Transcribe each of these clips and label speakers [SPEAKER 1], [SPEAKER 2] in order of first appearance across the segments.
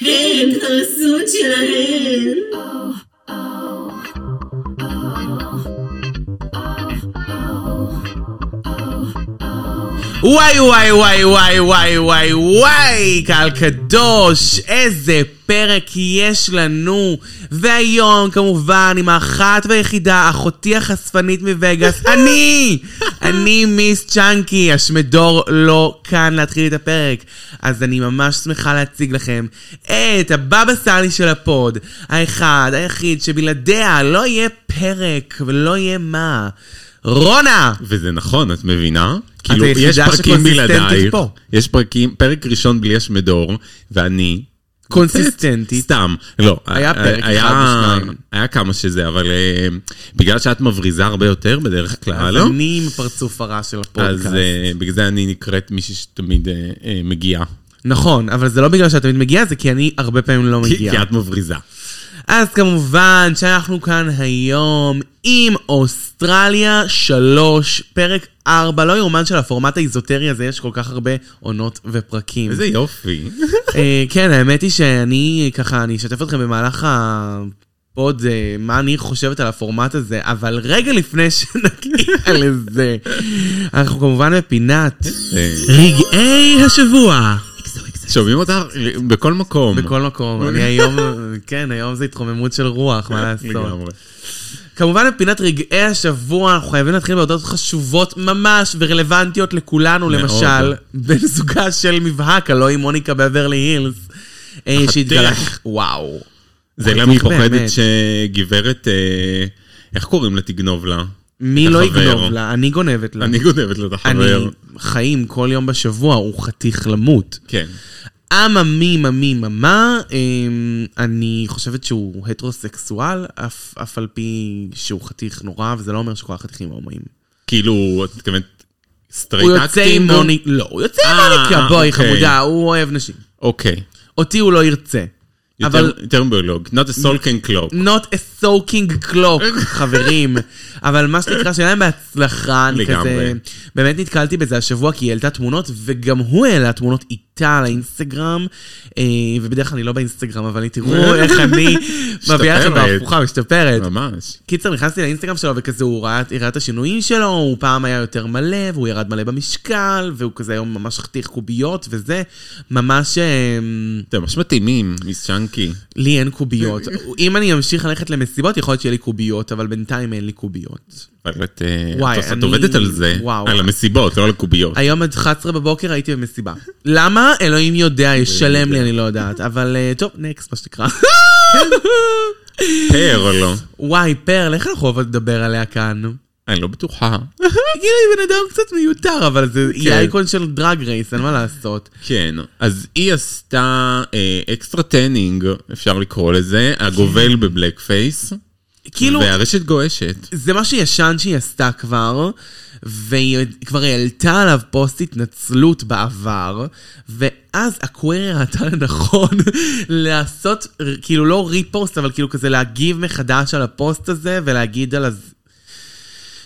[SPEAKER 1] הם תעשו את שלהם.
[SPEAKER 2] וואי וואי וואי וואי וואי וואי וואי, קהל קדוש, איזה פרק יש לנו. והיום כמובן עם האחת והיחידה, אחותי החשפנית מווגאס, אני! אני מיס צ'אנקי, השמדור לא כאן להתחיל את הפרק. אז אני ממש שמחה להציג לכם את הבבא סאלי של הפוד, האחד, היחיד, שבלעדיה לא יהיה פרק ולא יהיה מה. רונה!
[SPEAKER 3] וזה נכון, את מבינה? כאילו, יש
[SPEAKER 2] היחידה
[SPEAKER 3] פרקים
[SPEAKER 2] שקונסיסטנטית
[SPEAKER 3] בלעדייך,
[SPEAKER 2] פה.
[SPEAKER 3] יש פרקים, פרק ראשון בלי השמדור, ואני...
[SPEAKER 2] קונסיסטנטית.
[SPEAKER 3] סתם, לא.
[SPEAKER 2] היה פרק
[SPEAKER 3] היה-
[SPEAKER 2] אחד או שניים.
[SPEAKER 3] היה כמה שזה, אבל אה, בגלל שאת מבריזה הרבה יותר בדרך כלל, לא?
[SPEAKER 2] אז אני עם הפרצוף הרע של הפודקאסט.
[SPEAKER 3] אז אה, בגלל זה אני נקראת מישהי שתמיד אה, אה, מגיעה.
[SPEAKER 2] נכון, אבל זה לא בגלל שאת תמיד מגיעה, זה כי אני הרבה פעמים לא
[SPEAKER 3] כי כי
[SPEAKER 2] מגיעה.
[SPEAKER 3] את מבריזה.
[SPEAKER 2] אז כמובן שאנחנו כאן היום עם אוסטרליה 3, פרק 4, לא יאומן של הפורמט האיזוטרי הזה, יש כל כך הרבה עונות ופרקים.
[SPEAKER 3] איזה יופי.
[SPEAKER 2] אה, כן, האמת היא שאני ככה, אני אשתף אתכם במהלך הפוד, אה, מה אני חושבת על הפורמט הזה, אבל רגע לפני שנגיע לזה, אנחנו כמובן בפינת
[SPEAKER 3] אה,
[SPEAKER 2] רגעי השבוע.
[SPEAKER 3] שומעים אותך אה, בכל מקום.
[SPEAKER 2] בכל מקום, אני היום, כן, היום זה התחוממות של רוח, מה לעשות.
[SPEAKER 3] לגמרי.
[SPEAKER 2] כמובן, מפינת רגעי השבוע, אנחנו חייבים להתחיל בהודעות חשובות ממש ורלוונטיות לכולנו,
[SPEAKER 3] מאוד.
[SPEAKER 2] למשל, בן זוגה של מבהק, הלוא היא מוניקה בברלי הילס, אה, שהתגלה... וואו.
[SPEAKER 3] זה
[SPEAKER 2] אני
[SPEAKER 3] למה היא
[SPEAKER 2] באמת.
[SPEAKER 3] פוחדת שגברת, אה, איך קוראים לה? תגנוב לה.
[SPEAKER 2] מי לא
[SPEAKER 3] החבר.
[SPEAKER 2] יגנוב לה? אני גונבת לה.
[SPEAKER 3] אני גונבת לו את
[SPEAKER 2] אני
[SPEAKER 3] החבר.
[SPEAKER 2] חיים כל יום בשבוע, הוא חתיך למות.
[SPEAKER 3] כן.
[SPEAKER 2] אמה מי ממי ממה, אמ, אני חושבת שהוא הטרוסקסואל, אף, אף על פי שהוא חתיך נורא, וזה לא אומר שכל החתיכים הומואים.
[SPEAKER 3] כאילו, את מתכוונת
[SPEAKER 2] הוא
[SPEAKER 3] סטרייט
[SPEAKER 2] יוצא עם
[SPEAKER 3] אקטינג?
[SPEAKER 2] מוני... לא, הוא יוצא עם
[SPEAKER 3] אה,
[SPEAKER 2] מוניקה, בואי
[SPEAKER 3] אוקיי.
[SPEAKER 2] חמודה, הוא אוהב נשים.
[SPEAKER 3] אוקיי.
[SPEAKER 2] אותי הוא לא ירצה. אבל
[SPEAKER 3] יותר- יותר ביולוג. Not a soul can clock.
[SPEAKER 2] not a soaking clock, חברים. אבל מה שנקרא, שיהיה להם בהצלחה, אני
[SPEAKER 3] לגמרי.
[SPEAKER 2] כזה... באמת נתקלתי בזה השבוע, כי היא העלתה תמונות, וגם הוא העלה תמונות איתה על האינסטגרם, אה, ובדרך כלל אני לא באינסטגרם, אבל תראו איך אני מביאה לכם
[SPEAKER 3] משתפרת.
[SPEAKER 2] בהפוכה, משתפרת.
[SPEAKER 3] ממש.
[SPEAKER 2] קיצר, נכנסתי לאינסטגרם שלו, וכזה הוא ראה, היא ראה את השינויים שלו, הוא פעם היה יותר מלא, והוא ירד מלא במשקל, והוא כזה היום ממש חתיך קוביות, וזה ממש... אה,
[SPEAKER 3] אתם ממש מתאימים, מיס צ'אנקי.
[SPEAKER 2] לי אין קוביות. אם אני אמשיך ללכת למסיבות, יכול להיות שיהיה לי קוביות, אבל בינתיים אין לי קוביות.
[SPEAKER 3] אבל את אה, את
[SPEAKER 2] וואי,
[SPEAKER 3] עושה- את
[SPEAKER 2] אני-
[SPEAKER 3] עובדת על זה.
[SPEAKER 2] וואו.
[SPEAKER 3] על המסיבות, לא על הקוביות.
[SPEAKER 2] היום עד 11 בבוקר הייתי במסיבה. למה? אלוהים יודע, ישלם לי, אני לא יודעת. אבל אה, טוב, נקסט, מה שנקרא.
[SPEAKER 3] פר או לא?
[SPEAKER 2] וואי, פרל, איך אנחנו אוהבות לדבר עליה כאן?
[SPEAKER 3] אני לא בטוחה.
[SPEAKER 2] כאילו, היא בן אדם קצת מיותר, אבל זה היא
[SPEAKER 3] כן.
[SPEAKER 2] האייקון של דרג רייס, אין מה לעשות.
[SPEAKER 3] כן, אז היא עשתה אה, אקסטרה טנינג, אפשר לקרוא לזה, הגובל בבלק פייס,
[SPEAKER 2] כאילו,
[SPEAKER 3] והרשת גועשת.
[SPEAKER 2] זה משהו ישן שהיא עשתה כבר, והיא כבר העלתה עליו פוסט התנצלות בעבר, ואז הקווירי ראתה לנכון לעשות, כאילו לא ריפוסט, אבל כאילו כזה להגיב מחדש על הפוסט הזה, ולהגיד על הז...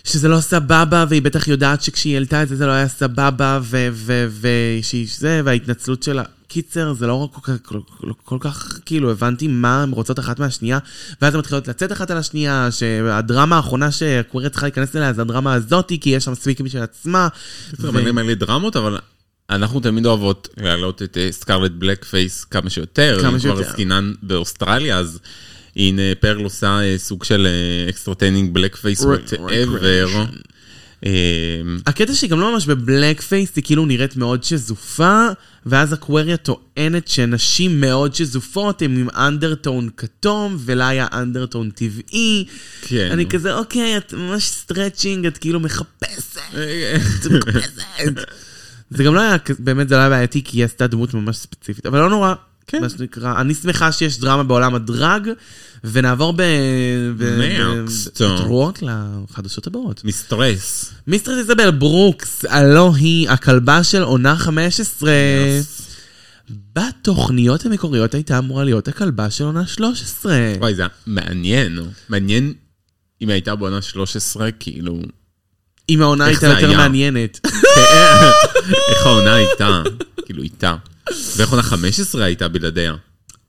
[SPEAKER 2] שזה לא סבבה, והיא בטח יודעת שכשהיא העלתה את זה, זה לא היה סבבה, ו... ו... ו... שהיא זה, וההתנצלות שלה... קיצר, זה לא כל כך, כל, כל, כל כך, כאילו, הבנתי מה הן רוצות אחת מהשנייה, ואז הן מתחילות לצאת אחת על השנייה, שהדרמה האחרונה שהקווירי צריכה להיכנס אליה זה הדרמה הזאתי, כי יש שם ספיקים של עצמה.
[SPEAKER 3] בסדר, מלא מלא דרמות, אבל אנחנו תמיד אוהבות להעלות את אה, סקארלט בלק פייס כמה שיותר.
[SPEAKER 2] כמה
[SPEAKER 3] כמה שיותר. היא
[SPEAKER 2] שיותר.
[SPEAKER 3] כבר עסקינן באוסטרליה, אז הנה פרל עושה אה, סוג של אקסטרטנינג בלק פייס וואטאבר.
[SPEAKER 2] recreation. הקטע שהיא גם לא ממש בבלק פייס, היא כאילו נראית מאוד שזופה, ואז אקווריה טוענת שנשים מאוד שזופות הן עם אנדרטון כתום, ולה היה אנדרטון טבעי.
[SPEAKER 3] כן.
[SPEAKER 2] אני כזה, אוקיי, את ממש סטרצ'ינג, את כאילו מחפשת, את מחפשת. זה גם לא היה, כ- באמת זה לא היה בעייתי, כי היא עשתה דמות ממש ספציפית, אבל לא נורא. כן. מה שנקרא, אני שמחה שיש דרמה בעולם הדרג, ונעבור ב... ב- ב-
[SPEAKER 3] Next.
[SPEAKER 2] בתרועות לחדשות הבאות.
[SPEAKER 3] מסטרס.
[SPEAKER 2] מיסטרס איזבל ברוקס, הלו היא הכלבה של עונה 15. בתוכניות המקוריות הייתה אמורה להיות הכלבה של עונה 13.
[SPEAKER 3] וואי, זה היה מעניין. מעניין אם הייתה בעונה 13, כאילו...
[SPEAKER 2] אם העונה
[SPEAKER 3] איך
[SPEAKER 2] הייתה
[SPEAKER 3] זה
[SPEAKER 2] יותר
[SPEAKER 3] היה?
[SPEAKER 2] מעניינת.
[SPEAKER 3] איך העונה הייתה? כאילו, איתה. ואיך עונה 15 הייתה בלעדיה?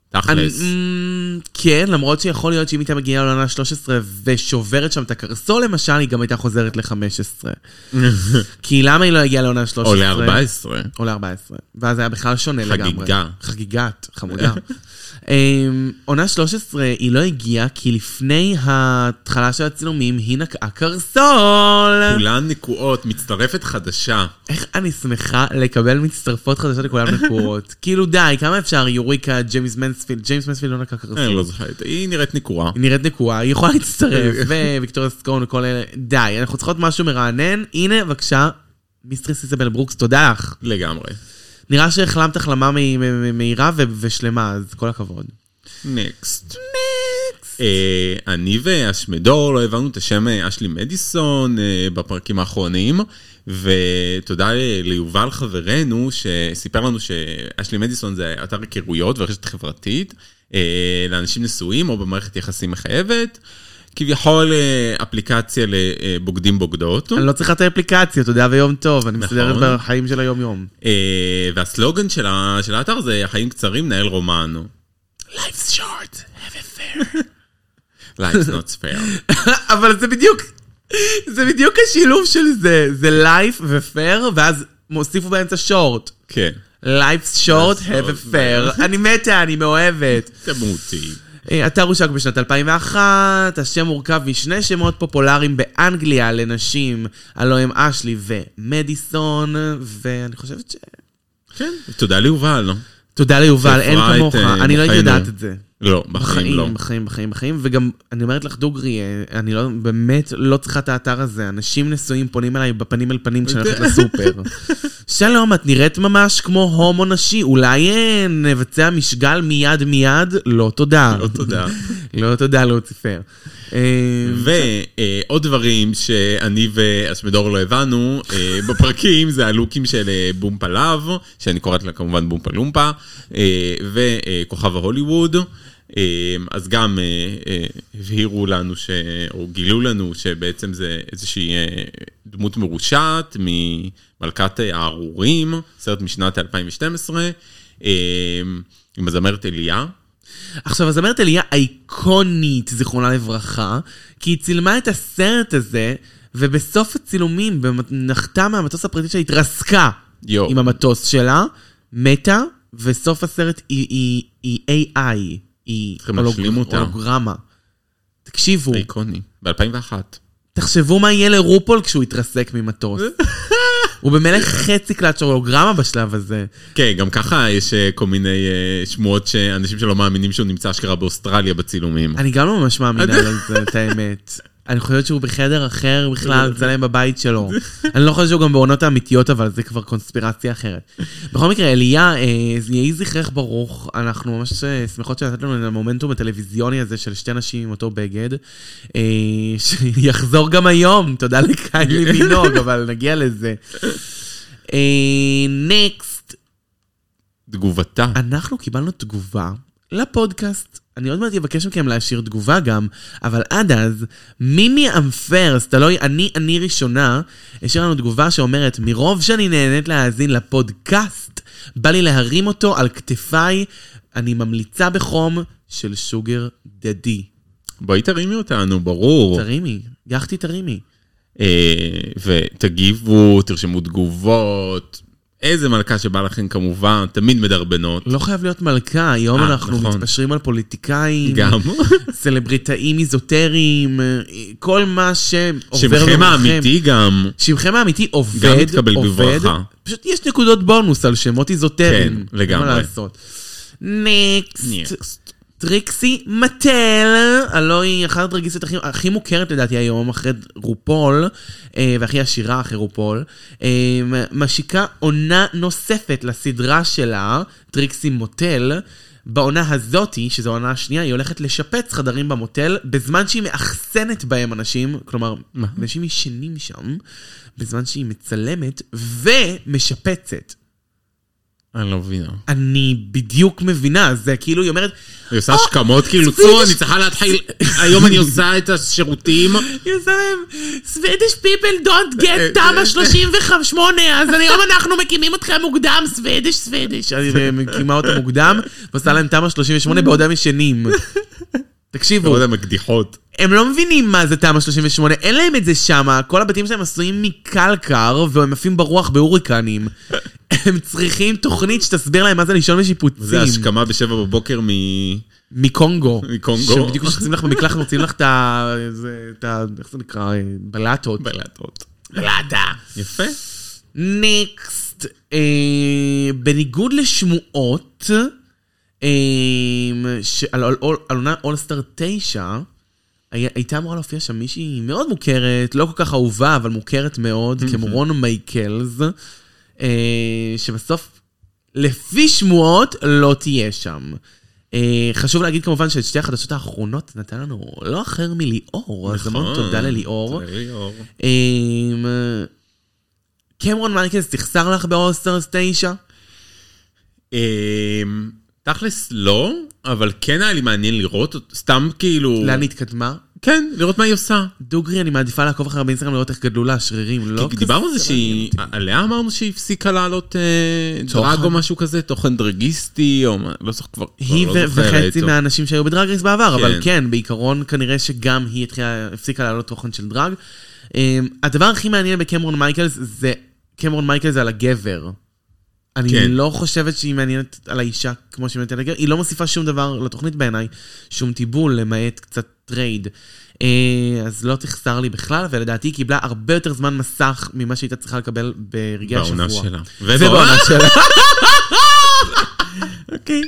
[SPEAKER 3] תכלס.
[SPEAKER 2] אמ, כן, למרות שיכול להיות שאם הייתה מגיעה לעונה 13 ושוברת שם את הקרסול למשל, היא גם הייתה חוזרת ל-15. כי למה היא לא הגיעה לעונה 13?
[SPEAKER 3] או ל-14.
[SPEAKER 2] או ל-14. ואז היה בכלל שונה
[SPEAKER 3] חגיגה.
[SPEAKER 2] לגמרי. חגיגת, חמודה. אמ, עונה 13 היא לא הגיעה, כי לפני ההתחלה של הצילומים היא נקעה קרסול.
[SPEAKER 3] כולן נקועות, מצטרפת חדשה.
[SPEAKER 2] איך אני שמחה לקבל מצטרפות חדשות לכולם נקועות. כאילו די, כמה אפשר יוריקה, ג'יימס מנספילד, ג'יימס מנספילד לא נקע קרסול.
[SPEAKER 3] אני לא זוכרת, היא נראית נקועה.
[SPEAKER 2] היא נראית נקועה, היא יכולה להצטרף, וויקטוריה סקרון וכל אלה. די, אנחנו צריכות משהו מרענן. הנה, בבקשה, מיסטרס איזבל ברוקס, תודה לך.
[SPEAKER 3] לגמרי.
[SPEAKER 2] נראה שהחלמת החלמה מ- מ- מ- מהירה ו- ושלמה, אז כל הכבוד.
[SPEAKER 3] נקסט. אה, אני ואשמדור לא הבנו את השם אה, אשלי מדיסון אה, בפרקים האחרונים, ותודה ל- ליובל חברנו שסיפר לנו שאשלי מדיסון זה אתר היכרויות ורשת חברתית אה, לאנשים נשואים או במערכת יחסים מחייבת, כביכול אה, אפליקציה לבוגדים בוגדות.
[SPEAKER 2] אני לא צריכה את האפליקציה, תודה ויום טוב, אני מסתדרת
[SPEAKER 3] נכון.
[SPEAKER 2] בחיים של היום-יום.
[SPEAKER 3] אה, והסלוגן של, ה, של האתר זה החיים קצרים, נהל רומן. Life's short, have a fair. Life's not fair.
[SPEAKER 2] אבל זה בדיוק, זה בדיוק השילוב של זה, זה לייף ופייר, ואז מוסיפו באמצע שורט.
[SPEAKER 3] כן,
[SPEAKER 2] לייפס שורט, have a fair. אני מתה, אני מאוהבת.
[SPEAKER 3] תמותי.
[SPEAKER 2] אה, אתר הושק בשנת 2001, השם מורכב משני שמות פופולריים באנגליה לנשים, הלוא הם אשלי ומדיסון, ואני חושבת ש...
[SPEAKER 3] כן, תודה ליובל. לא?
[SPEAKER 2] תודה ליובל, אין
[SPEAKER 3] שהפרעה
[SPEAKER 2] כמוך,
[SPEAKER 3] את, אה,
[SPEAKER 2] אני לא הייתי
[SPEAKER 3] בחיים
[SPEAKER 2] יודעת
[SPEAKER 3] לא.
[SPEAKER 2] את זה.
[SPEAKER 3] לא, בחיים לא.
[SPEAKER 2] בחיים, בחיים, בחיים, בחיים, וגם, אני אומרת לך דוגרי, אה, אני לא, באמת לא צריכה את האתר הזה. אנשים נשואים פונים אליי בפנים אל פנים כשאני הולכת לסופר. שלום, את נראית ממש כמו הומו נשי, אולי אה, נבצע משגל מיד מיד? לא תודה.
[SPEAKER 3] לא תודה.
[SPEAKER 2] לא תודה, לוציפר. אה,
[SPEAKER 3] ועוד דברים שאני ואשמדור לא הבנו אה, בפרקים זה הלוקים של אה, בומפה לאב, שאני קוראת לה כמובן בומפה לומפה, אה, וכוכב ההוליווד. אה, אז גם אה, אה, הבהירו לנו, ש... או גילו לנו, שבעצם זה איזושהי אה, דמות מרושעת ממלכת אה, הארורים, סרט משנת 2012, אה, עם הזמרת אליה.
[SPEAKER 2] עכשיו, הזמרת אליה אייקונית, זיכרונה לברכה, כי היא צילמה את הסרט הזה, ובסוף הצילומים, במ- נחתה מהמטוס הפרטי שלה, התרסקה
[SPEAKER 3] יו.
[SPEAKER 2] עם המטוס שלה, מתה, וסוף הסרט היא, היא, היא AI, היא
[SPEAKER 3] צריכים להשלים אותה.
[SPEAKER 2] הולוגרמה. תקשיבו,
[SPEAKER 3] איקוני, ב-2001.
[SPEAKER 2] תחשבו מה יהיה לרופול כשהוא יתרסק ממטוס. הוא במילא חצי קלט של הולוגרמה בשלב הזה.
[SPEAKER 3] כן, גם ככה יש אה, כל מיני אה, שמועות שאנשים שלא מאמינים שהוא נמצא אשכרה באוסטרליה בצילומים.
[SPEAKER 2] אני גם לא ממש מאמינה לזה, את האמת. אני חושבת שהוא בחדר אחר בכלל, מצלם בבית שלו. אני לא חושבת שהוא גם בעונות האמיתיות, אבל זה כבר קונספירציה אחרת. בכל מקרה, אליה, אה, יהי זכרך ברוך, אנחנו ממש אה, שמחות שנתת לנו את המומנטום הטלוויזיוני הזה של שתי נשים עם אותו בגד, אה, שיחזור גם היום, תודה לקיילי מינוג, אבל נגיע לזה. אה, נקסט,
[SPEAKER 3] תגובתה.
[SPEAKER 2] אנחנו קיבלנו תגובה לפודקאסט. אני עוד מעט אבקש מכם להשאיר תגובה גם, אבל עד אז, מימי אמפרס, תלוי, לא, אני, אני ראשונה, השאירה לנו תגובה שאומרת, מרוב שאני נהנית להאזין לפודקאסט, בא לי להרים אותו על כתפיי, אני ממליצה בחום של שוגר דדי.
[SPEAKER 3] בואי תרימי אותנו, ברור.
[SPEAKER 2] תרימי, יחתי תרימי.
[SPEAKER 3] אה, ותגיבו, תרשמו תגובות. איזה מלכה שבא לכם כמובן, תמיד מדרבנות.
[SPEAKER 2] לא חייב להיות מלכה, היום
[SPEAKER 3] אה,
[SPEAKER 2] אנחנו
[SPEAKER 3] נכון.
[SPEAKER 2] מתפשרים על פוליטיקאים,
[SPEAKER 3] גם.
[SPEAKER 2] סלבריטאים איזוטריים, כל מה שעובר
[SPEAKER 3] שמכם
[SPEAKER 2] במוחכם.
[SPEAKER 3] האמיתי גם.
[SPEAKER 2] שמכם האמיתי עובד,
[SPEAKER 3] גם מתקבל
[SPEAKER 2] עובד,
[SPEAKER 3] בברכה.
[SPEAKER 2] פשוט יש נקודות בונוס על שמות איזוטריים.
[SPEAKER 3] כן, לגמרי.
[SPEAKER 2] אין מה לעשות. נקסט.
[SPEAKER 3] Next.
[SPEAKER 2] טריקסי מטל, הלוא היא אחת הדרגיסטיות הכי, הכי מוכרת לדעתי היום, אחרי רופול, אה, והכי עשירה אחרי רופול, אה, משיקה עונה נוספת לסדרה שלה, טריקסי מוטל. בעונה הזאתי, שזו העונה השנייה, היא הולכת לשפץ חדרים במוטל, בזמן שהיא מאחסנת בהם אנשים, כלומר, אנשים ישנים שם, בזמן שהיא מצלמת ומשפצת.
[SPEAKER 3] אני לא מבינה.
[SPEAKER 2] אני בדיוק מבינה, זה כאילו, היא אומרת,
[SPEAKER 3] היא עושה השכמות כאילו, צאו, אני צריכה להתחיל, היום אני עושה את השירותים.
[SPEAKER 2] היא עושה להם, כן, Swedish people don't get תמ"א 38, אז היום אנחנו מקימים אתכם מוקדם, סווידיש, סווידיש. אני מקימה אותם מוקדם, ועושה להם תמ"א 38 בעוד הם ישנים.
[SPEAKER 3] לא
[SPEAKER 2] תקשיבו,
[SPEAKER 3] יודע, מקדיחות.
[SPEAKER 2] הם לא מבינים מה זה תמ"א 38, אין להם את זה שמה, כל הבתים שלהם עשויים מקלקר, והם עפים ברוח בהוריקנים. הם צריכים תוכנית שתסביר להם מה זה לישון
[SPEAKER 3] זה
[SPEAKER 2] משיפוצים.
[SPEAKER 3] השכמה בשבע בבוקר מ...
[SPEAKER 2] מקונגו.
[SPEAKER 3] מקונגו.
[SPEAKER 2] שבדיוק כשנכנסים לך במקלחת, מוציאים לך את ה... זה- את ה... איך זה נקרא? בלטות.
[SPEAKER 3] בלהטות.
[SPEAKER 2] בלטה.
[SPEAKER 3] יפה.
[SPEAKER 2] נקסט, אה, בניגוד לשמועות, אה, שעל על- על- על עונה אולסטאר 9, היה- הייתה אמורה להופיע שם מישהי מאוד מוכרת, לא כל כך אהובה, אבל מוכרת מאוד, כמו רון מייקלס, אה, שבסוף, לפי שמועות, לא תהיה שם. אה, חשוב להגיד כמובן שאת שתי החדשות האחרונות נתן לנו לא אחר מליאור, אז
[SPEAKER 3] נכון.
[SPEAKER 2] המון תודה לליאור.
[SPEAKER 3] תודה לליאור.
[SPEAKER 2] אמ, קמרון מרקס תחסר לך באוסטרס 9?
[SPEAKER 3] אמ, תכלס לא, אבל כן היה לי מעניין לראות, אותו, סתם כאילו...
[SPEAKER 2] לאן היא התקדמה?
[SPEAKER 3] כן, לראות מה היא עושה.
[SPEAKER 2] דוגרי, אני מעדיפה לעקוב אחריה באינסטגרם לראות איך גדלו לה השרירים, לא?
[SPEAKER 3] כי דיברנו על זה
[SPEAKER 2] כזה
[SPEAKER 3] שהיא... עליה אמרנו שהיא הפסיקה לעלות אה, דרג
[SPEAKER 2] תוכן.
[SPEAKER 3] או משהו כזה, תוכן דרגיסטי, או מה- לא זוכר כבר. כבר
[SPEAKER 2] היא
[SPEAKER 3] לא
[SPEAKER 2] ו-
[SPEAKER 3] זוכר,
[SPEAKER 2] וחצי
[SPEAKER 3] טוב.
[SPEAKER 2] מהאנשים שהיו בדרג רייס בעבר, אבל
[SPEAKER 3] כן.
[SPEAKER 2] כן, בעיקרון כנראה שגם היא התחילה, הפסיקה לעלות תוכן של דרג. אמ, הדבר הכי מעניין בקמרון מייקלס זה קמרון מייקלס על הגבר. אני
[SPEAKER 3] כן.
[SPEAKER 2] לא חושבת שהיא מעניינת על האישה כמו שהיא מעניינת על הגבר, היא לא מוסיפה שום דבר לתוכנית בעיניי, שום טיבול למעט קצת טרייד. אה, אז לא תחסר לי בכלל, ולדעתי היא קיבלה הרבה יותר זמן מסך ממה שהייתה צריכה לקבל ברגעי השבוע.
[SPEAKER 3] בעונה שלה.
[SPEAKER 2] ובעונה שלה.
[SPEAKER 3] אוקיי.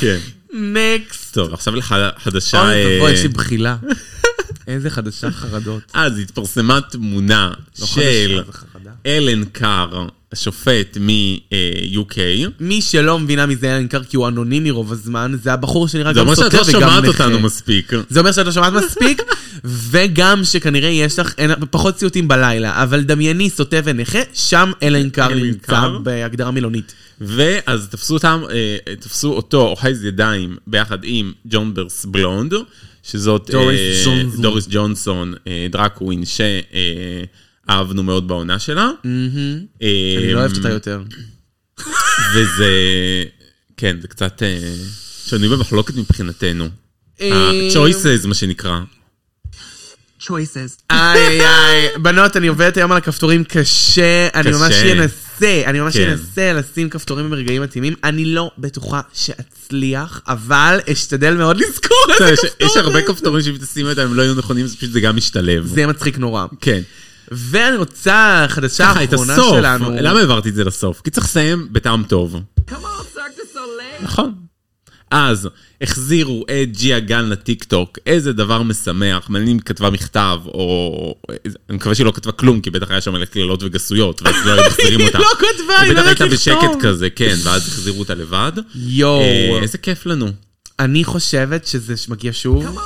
[SPEAKER 3] כן.
[SPEAKER 2] נקסט.
[SPEAKER 3] טוב, עכשיו לחדשה...
[SPEAKER 2] אוי,
[SPEAKER 3] אה,
[SPEAKER 2] אוי, יש לי בחילה. איזה חדשה חרדות.
[SPEAKER 3] אז התפרסמה תמונה
[SPEAKER 2] לא
[SPEAKER 3] של
[SPEAKER 2] חדשה, זה חרדה.
[SPEAKER 3] אלן קאר, השופט אה, מ-UK.
[SPEAKER 2] מי שלא מבינה מי זה אלן קר כי הוא אנונימי רוב הזמן, זה הבחור שנראה
[SPEAKER 3] זה
[SPEAKER 2] גם
[SPEAKER 3] אומר
[SPEAKER 2] סוטה
[SPEAKER 3] שאת
[SPEAKER 2] וגם
[SPEAKER 3] לא
[SPEAKER 2] נכה.
[SPEAKER 3] שומעת אותנו מספיק.
[SPEAKER 2] זה אומר שאת לא שומעת מספיק, וגם שכנראה יש לך אין, פחות סיוטים בלילה, אבל דמייני סוטה ונכה, שם אלן קר
[SPEAKER 3] אלן
[SPEAKER 2] נמצא
[SPEAKER 3] קר.
[SPEAKER 2] בהגדרה מילונית.
[SPEAKER 3] ואז תפסו אותם, אה, תפסו אותו אוחז ידיים ביחד עם ג'ון ברס בלונד, שזאת אה,
[SPEAKER 2] דוריס ג'ונסון.
[SPEAKER 3] דוריס ג'ונסון, אה, דרקווין, שאהבנו מאוד בעונה שלה. אה,
[SPEAKER 2] אני לא אוהבת אותה יותר.
[SPEAKER 3] וזה, כן, זה קצת אה, שנוי במחלוקת מבחינתנו.
[SPEAKER 2] אה,
[SPEAKER 3] ה-choices, מה שנקרא.
[SPEAKER 4] choices.
[SPEAKER 2] איי איי, בנות, אני עובדת היום על הכפתורים קשה, אני
[SPEAKER 3] קשה.
[SPEAKER 2] ממש אנסה, אני ממש
[SPEAKER 3] כן.
[SPEAKER 2] אנסה לשים כפתורים ברגעים מתאימים. אני לא בטוחה שאצליח, אבל אשתדל מאוד לזכור
[SPEAKER 3] אתה יודע,
[SPEAKER 2] איזה
[SPEAKER 3] יש-
[SPEAKER 2] כפתור.
[SPEAKER 3] יש הרבה
[SPEAKER 2] זה.
[SPEAKER 3] כפתורים שאם תשים אותם הם לא היו נכונים, זה פשוט זה גם משתלב.
[SPEAKER 2] זה משחק נורא.
[SPEAKER 3] כן.
[SPEAKER 2] ואני רוצה, החדשה
[SPEAKER 3] ככה, את
[SPEAKER 2] האחרונה
[SPEAKER 3] הסוף.
[SPEAKER 2] שלנו.
[SPEAKER 3] למה העברתי את זה לסוף? כי צריך לסיים בטעם טוב. נכון. אז החזירו את ג'יה גן לטיקטוק, איזה דבר משמח, מעניין אם היא כתבה מכתב, או... אני מקווה שהיא לא כתבה כלום, כי בטח היה שם מלא קללות וגסויות, ואז לא היו מחזירים
[SPEAKER 2] היא
[SPEAKER 3] אותה.
[SPEAKER 2] לא כתבה, היא לא
[SPEAKER 3] בטח
[SPEAKER 2] יודעת
[SPEAKER 3] הייתה
[SPEAKER 2] לכתוב. לא.
[SPEAKER 3] בשקט כזה, כן, ואז החזירו אותה לבד.
[SPEAKER 2] יואו.
[SPEAKER 3] אה, איזה כיף לנו.
[SPEAKER 2] אני חושבת שזה מגיע שוב.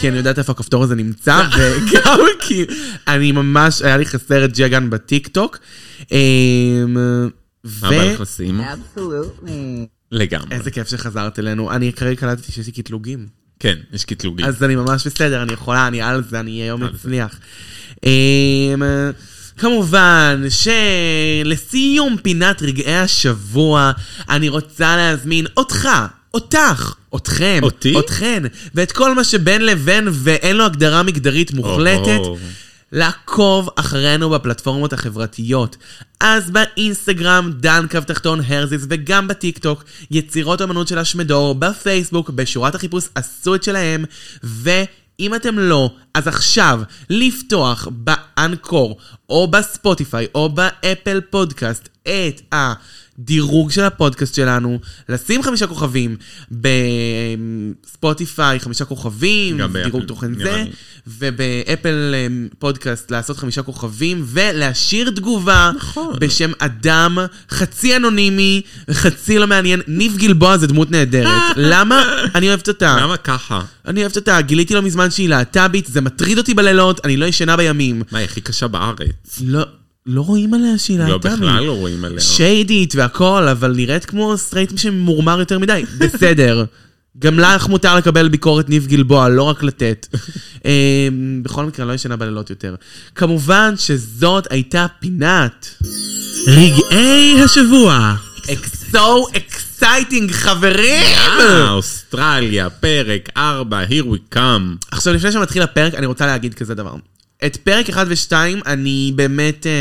[SPEAKER 2] כי אני יודעת איפה הכפתור הזה נמצא, וגם כי אני ממש, היה לי חסר את ג'גן בטיקטוק. אמ, ו...
[SPEAKER 3] מה בא לך לשים?
[SPEAKER 4] Absolutely.
[SPEAKER 3] לגמרי.
[SPEAKER 2] איזה כיף שחזרת אלינו. אני כרגע קלטתי שיש לי קטלוגים.
[SPEAKER 3] כן, יש קטלוגים.
[SPEAKER 2] אז אני ממש בסדר, אני יכולה, אני על זה, אני היום מצליח. אמ, כמובן שלסיום פינת רגעי השבוע, אני רוצה להזמין אותך, אותך, אתכם,
[SPEAKER 3] אותי?
[SPEAKER 2] אתכן, ואת כל מה שבין לבין ואין לו הגדרה מגדרית מוחלטת.
[SPEAKER 3] או-הו.
[SPEAKER 2] לעקוב אחרינו בפלטפורמות החברתיות. אז באינסטגרם, דן קו תחתון הרזיס, וגם בטיקטוק, יצירות אמנות של השמדור, בפייסבוק, בשורת החיפוש עשו את שלהם, ואם אתם לא, אז עכשיו, לפתוח באנקור, או בספוטיפיי, או באפל פודקאסט, את הדירוג של הפודקאסט שלנו, לשים חמישה כוכבים בספוטיפיי, חמישה כוכבים,
[SPEAKER 3] גם באפל,
[SPEAKER 2] דירוג תוכן
[SPEAKER 3] נראה
[SPEAKER 2] זה,
[SPEAKER 3] לי.
[SPEAKER 2] ובאפל אמ, פודקאסט לעשות חמישה כוכבים ולהשאיר תגובה
[SPEAKER 3] נכון.
[SPEAKER 2] בשם אדם חצי אנונימי, חצי לא מעניין. ניב גלבוע זה דמות נהדרת. למה? אני אוהבת אותה.
[SPEAKER 3] למה ככה?
[SPEAKER 2] אני אוהבת אותה. גיליתי לא מזמן שהיא להט"בית, זה מטריד אותי בלילות, אני לא ישנה בימים.
[SPEAKER 3] מה, היא הכי קשה בארץ.
[SPEAKER 2] לא... לא רואים עליה שהיא
[SPEAKER 3] לא,
[SPEAKER 2] להט"בית.
[SPEAKER 3] בכלל לא רואים עליה.
[SPEAKER 2] שיידית והכל, אבל נראית כמו סטרייט שמורמר יותר מדי. בסדר. גם לך מותר לקבל ביקורת ניב גלבוע, לא רק לתת. אה, בכל מקרה, לא ישנה בלילות יותר. כמובן שזאת הייתה פינת. רגעי השבוע. So exciting, חברים! כן.
[SPEAKER 3] אה, אוסטרליה, פרק 4, here we come.
[SPEAKER 2] עכשיו, לפני שמתחיל הפרק, אני רוצה להגיד כזה דבר. את פרק 1 ו-2, אני באמת אה,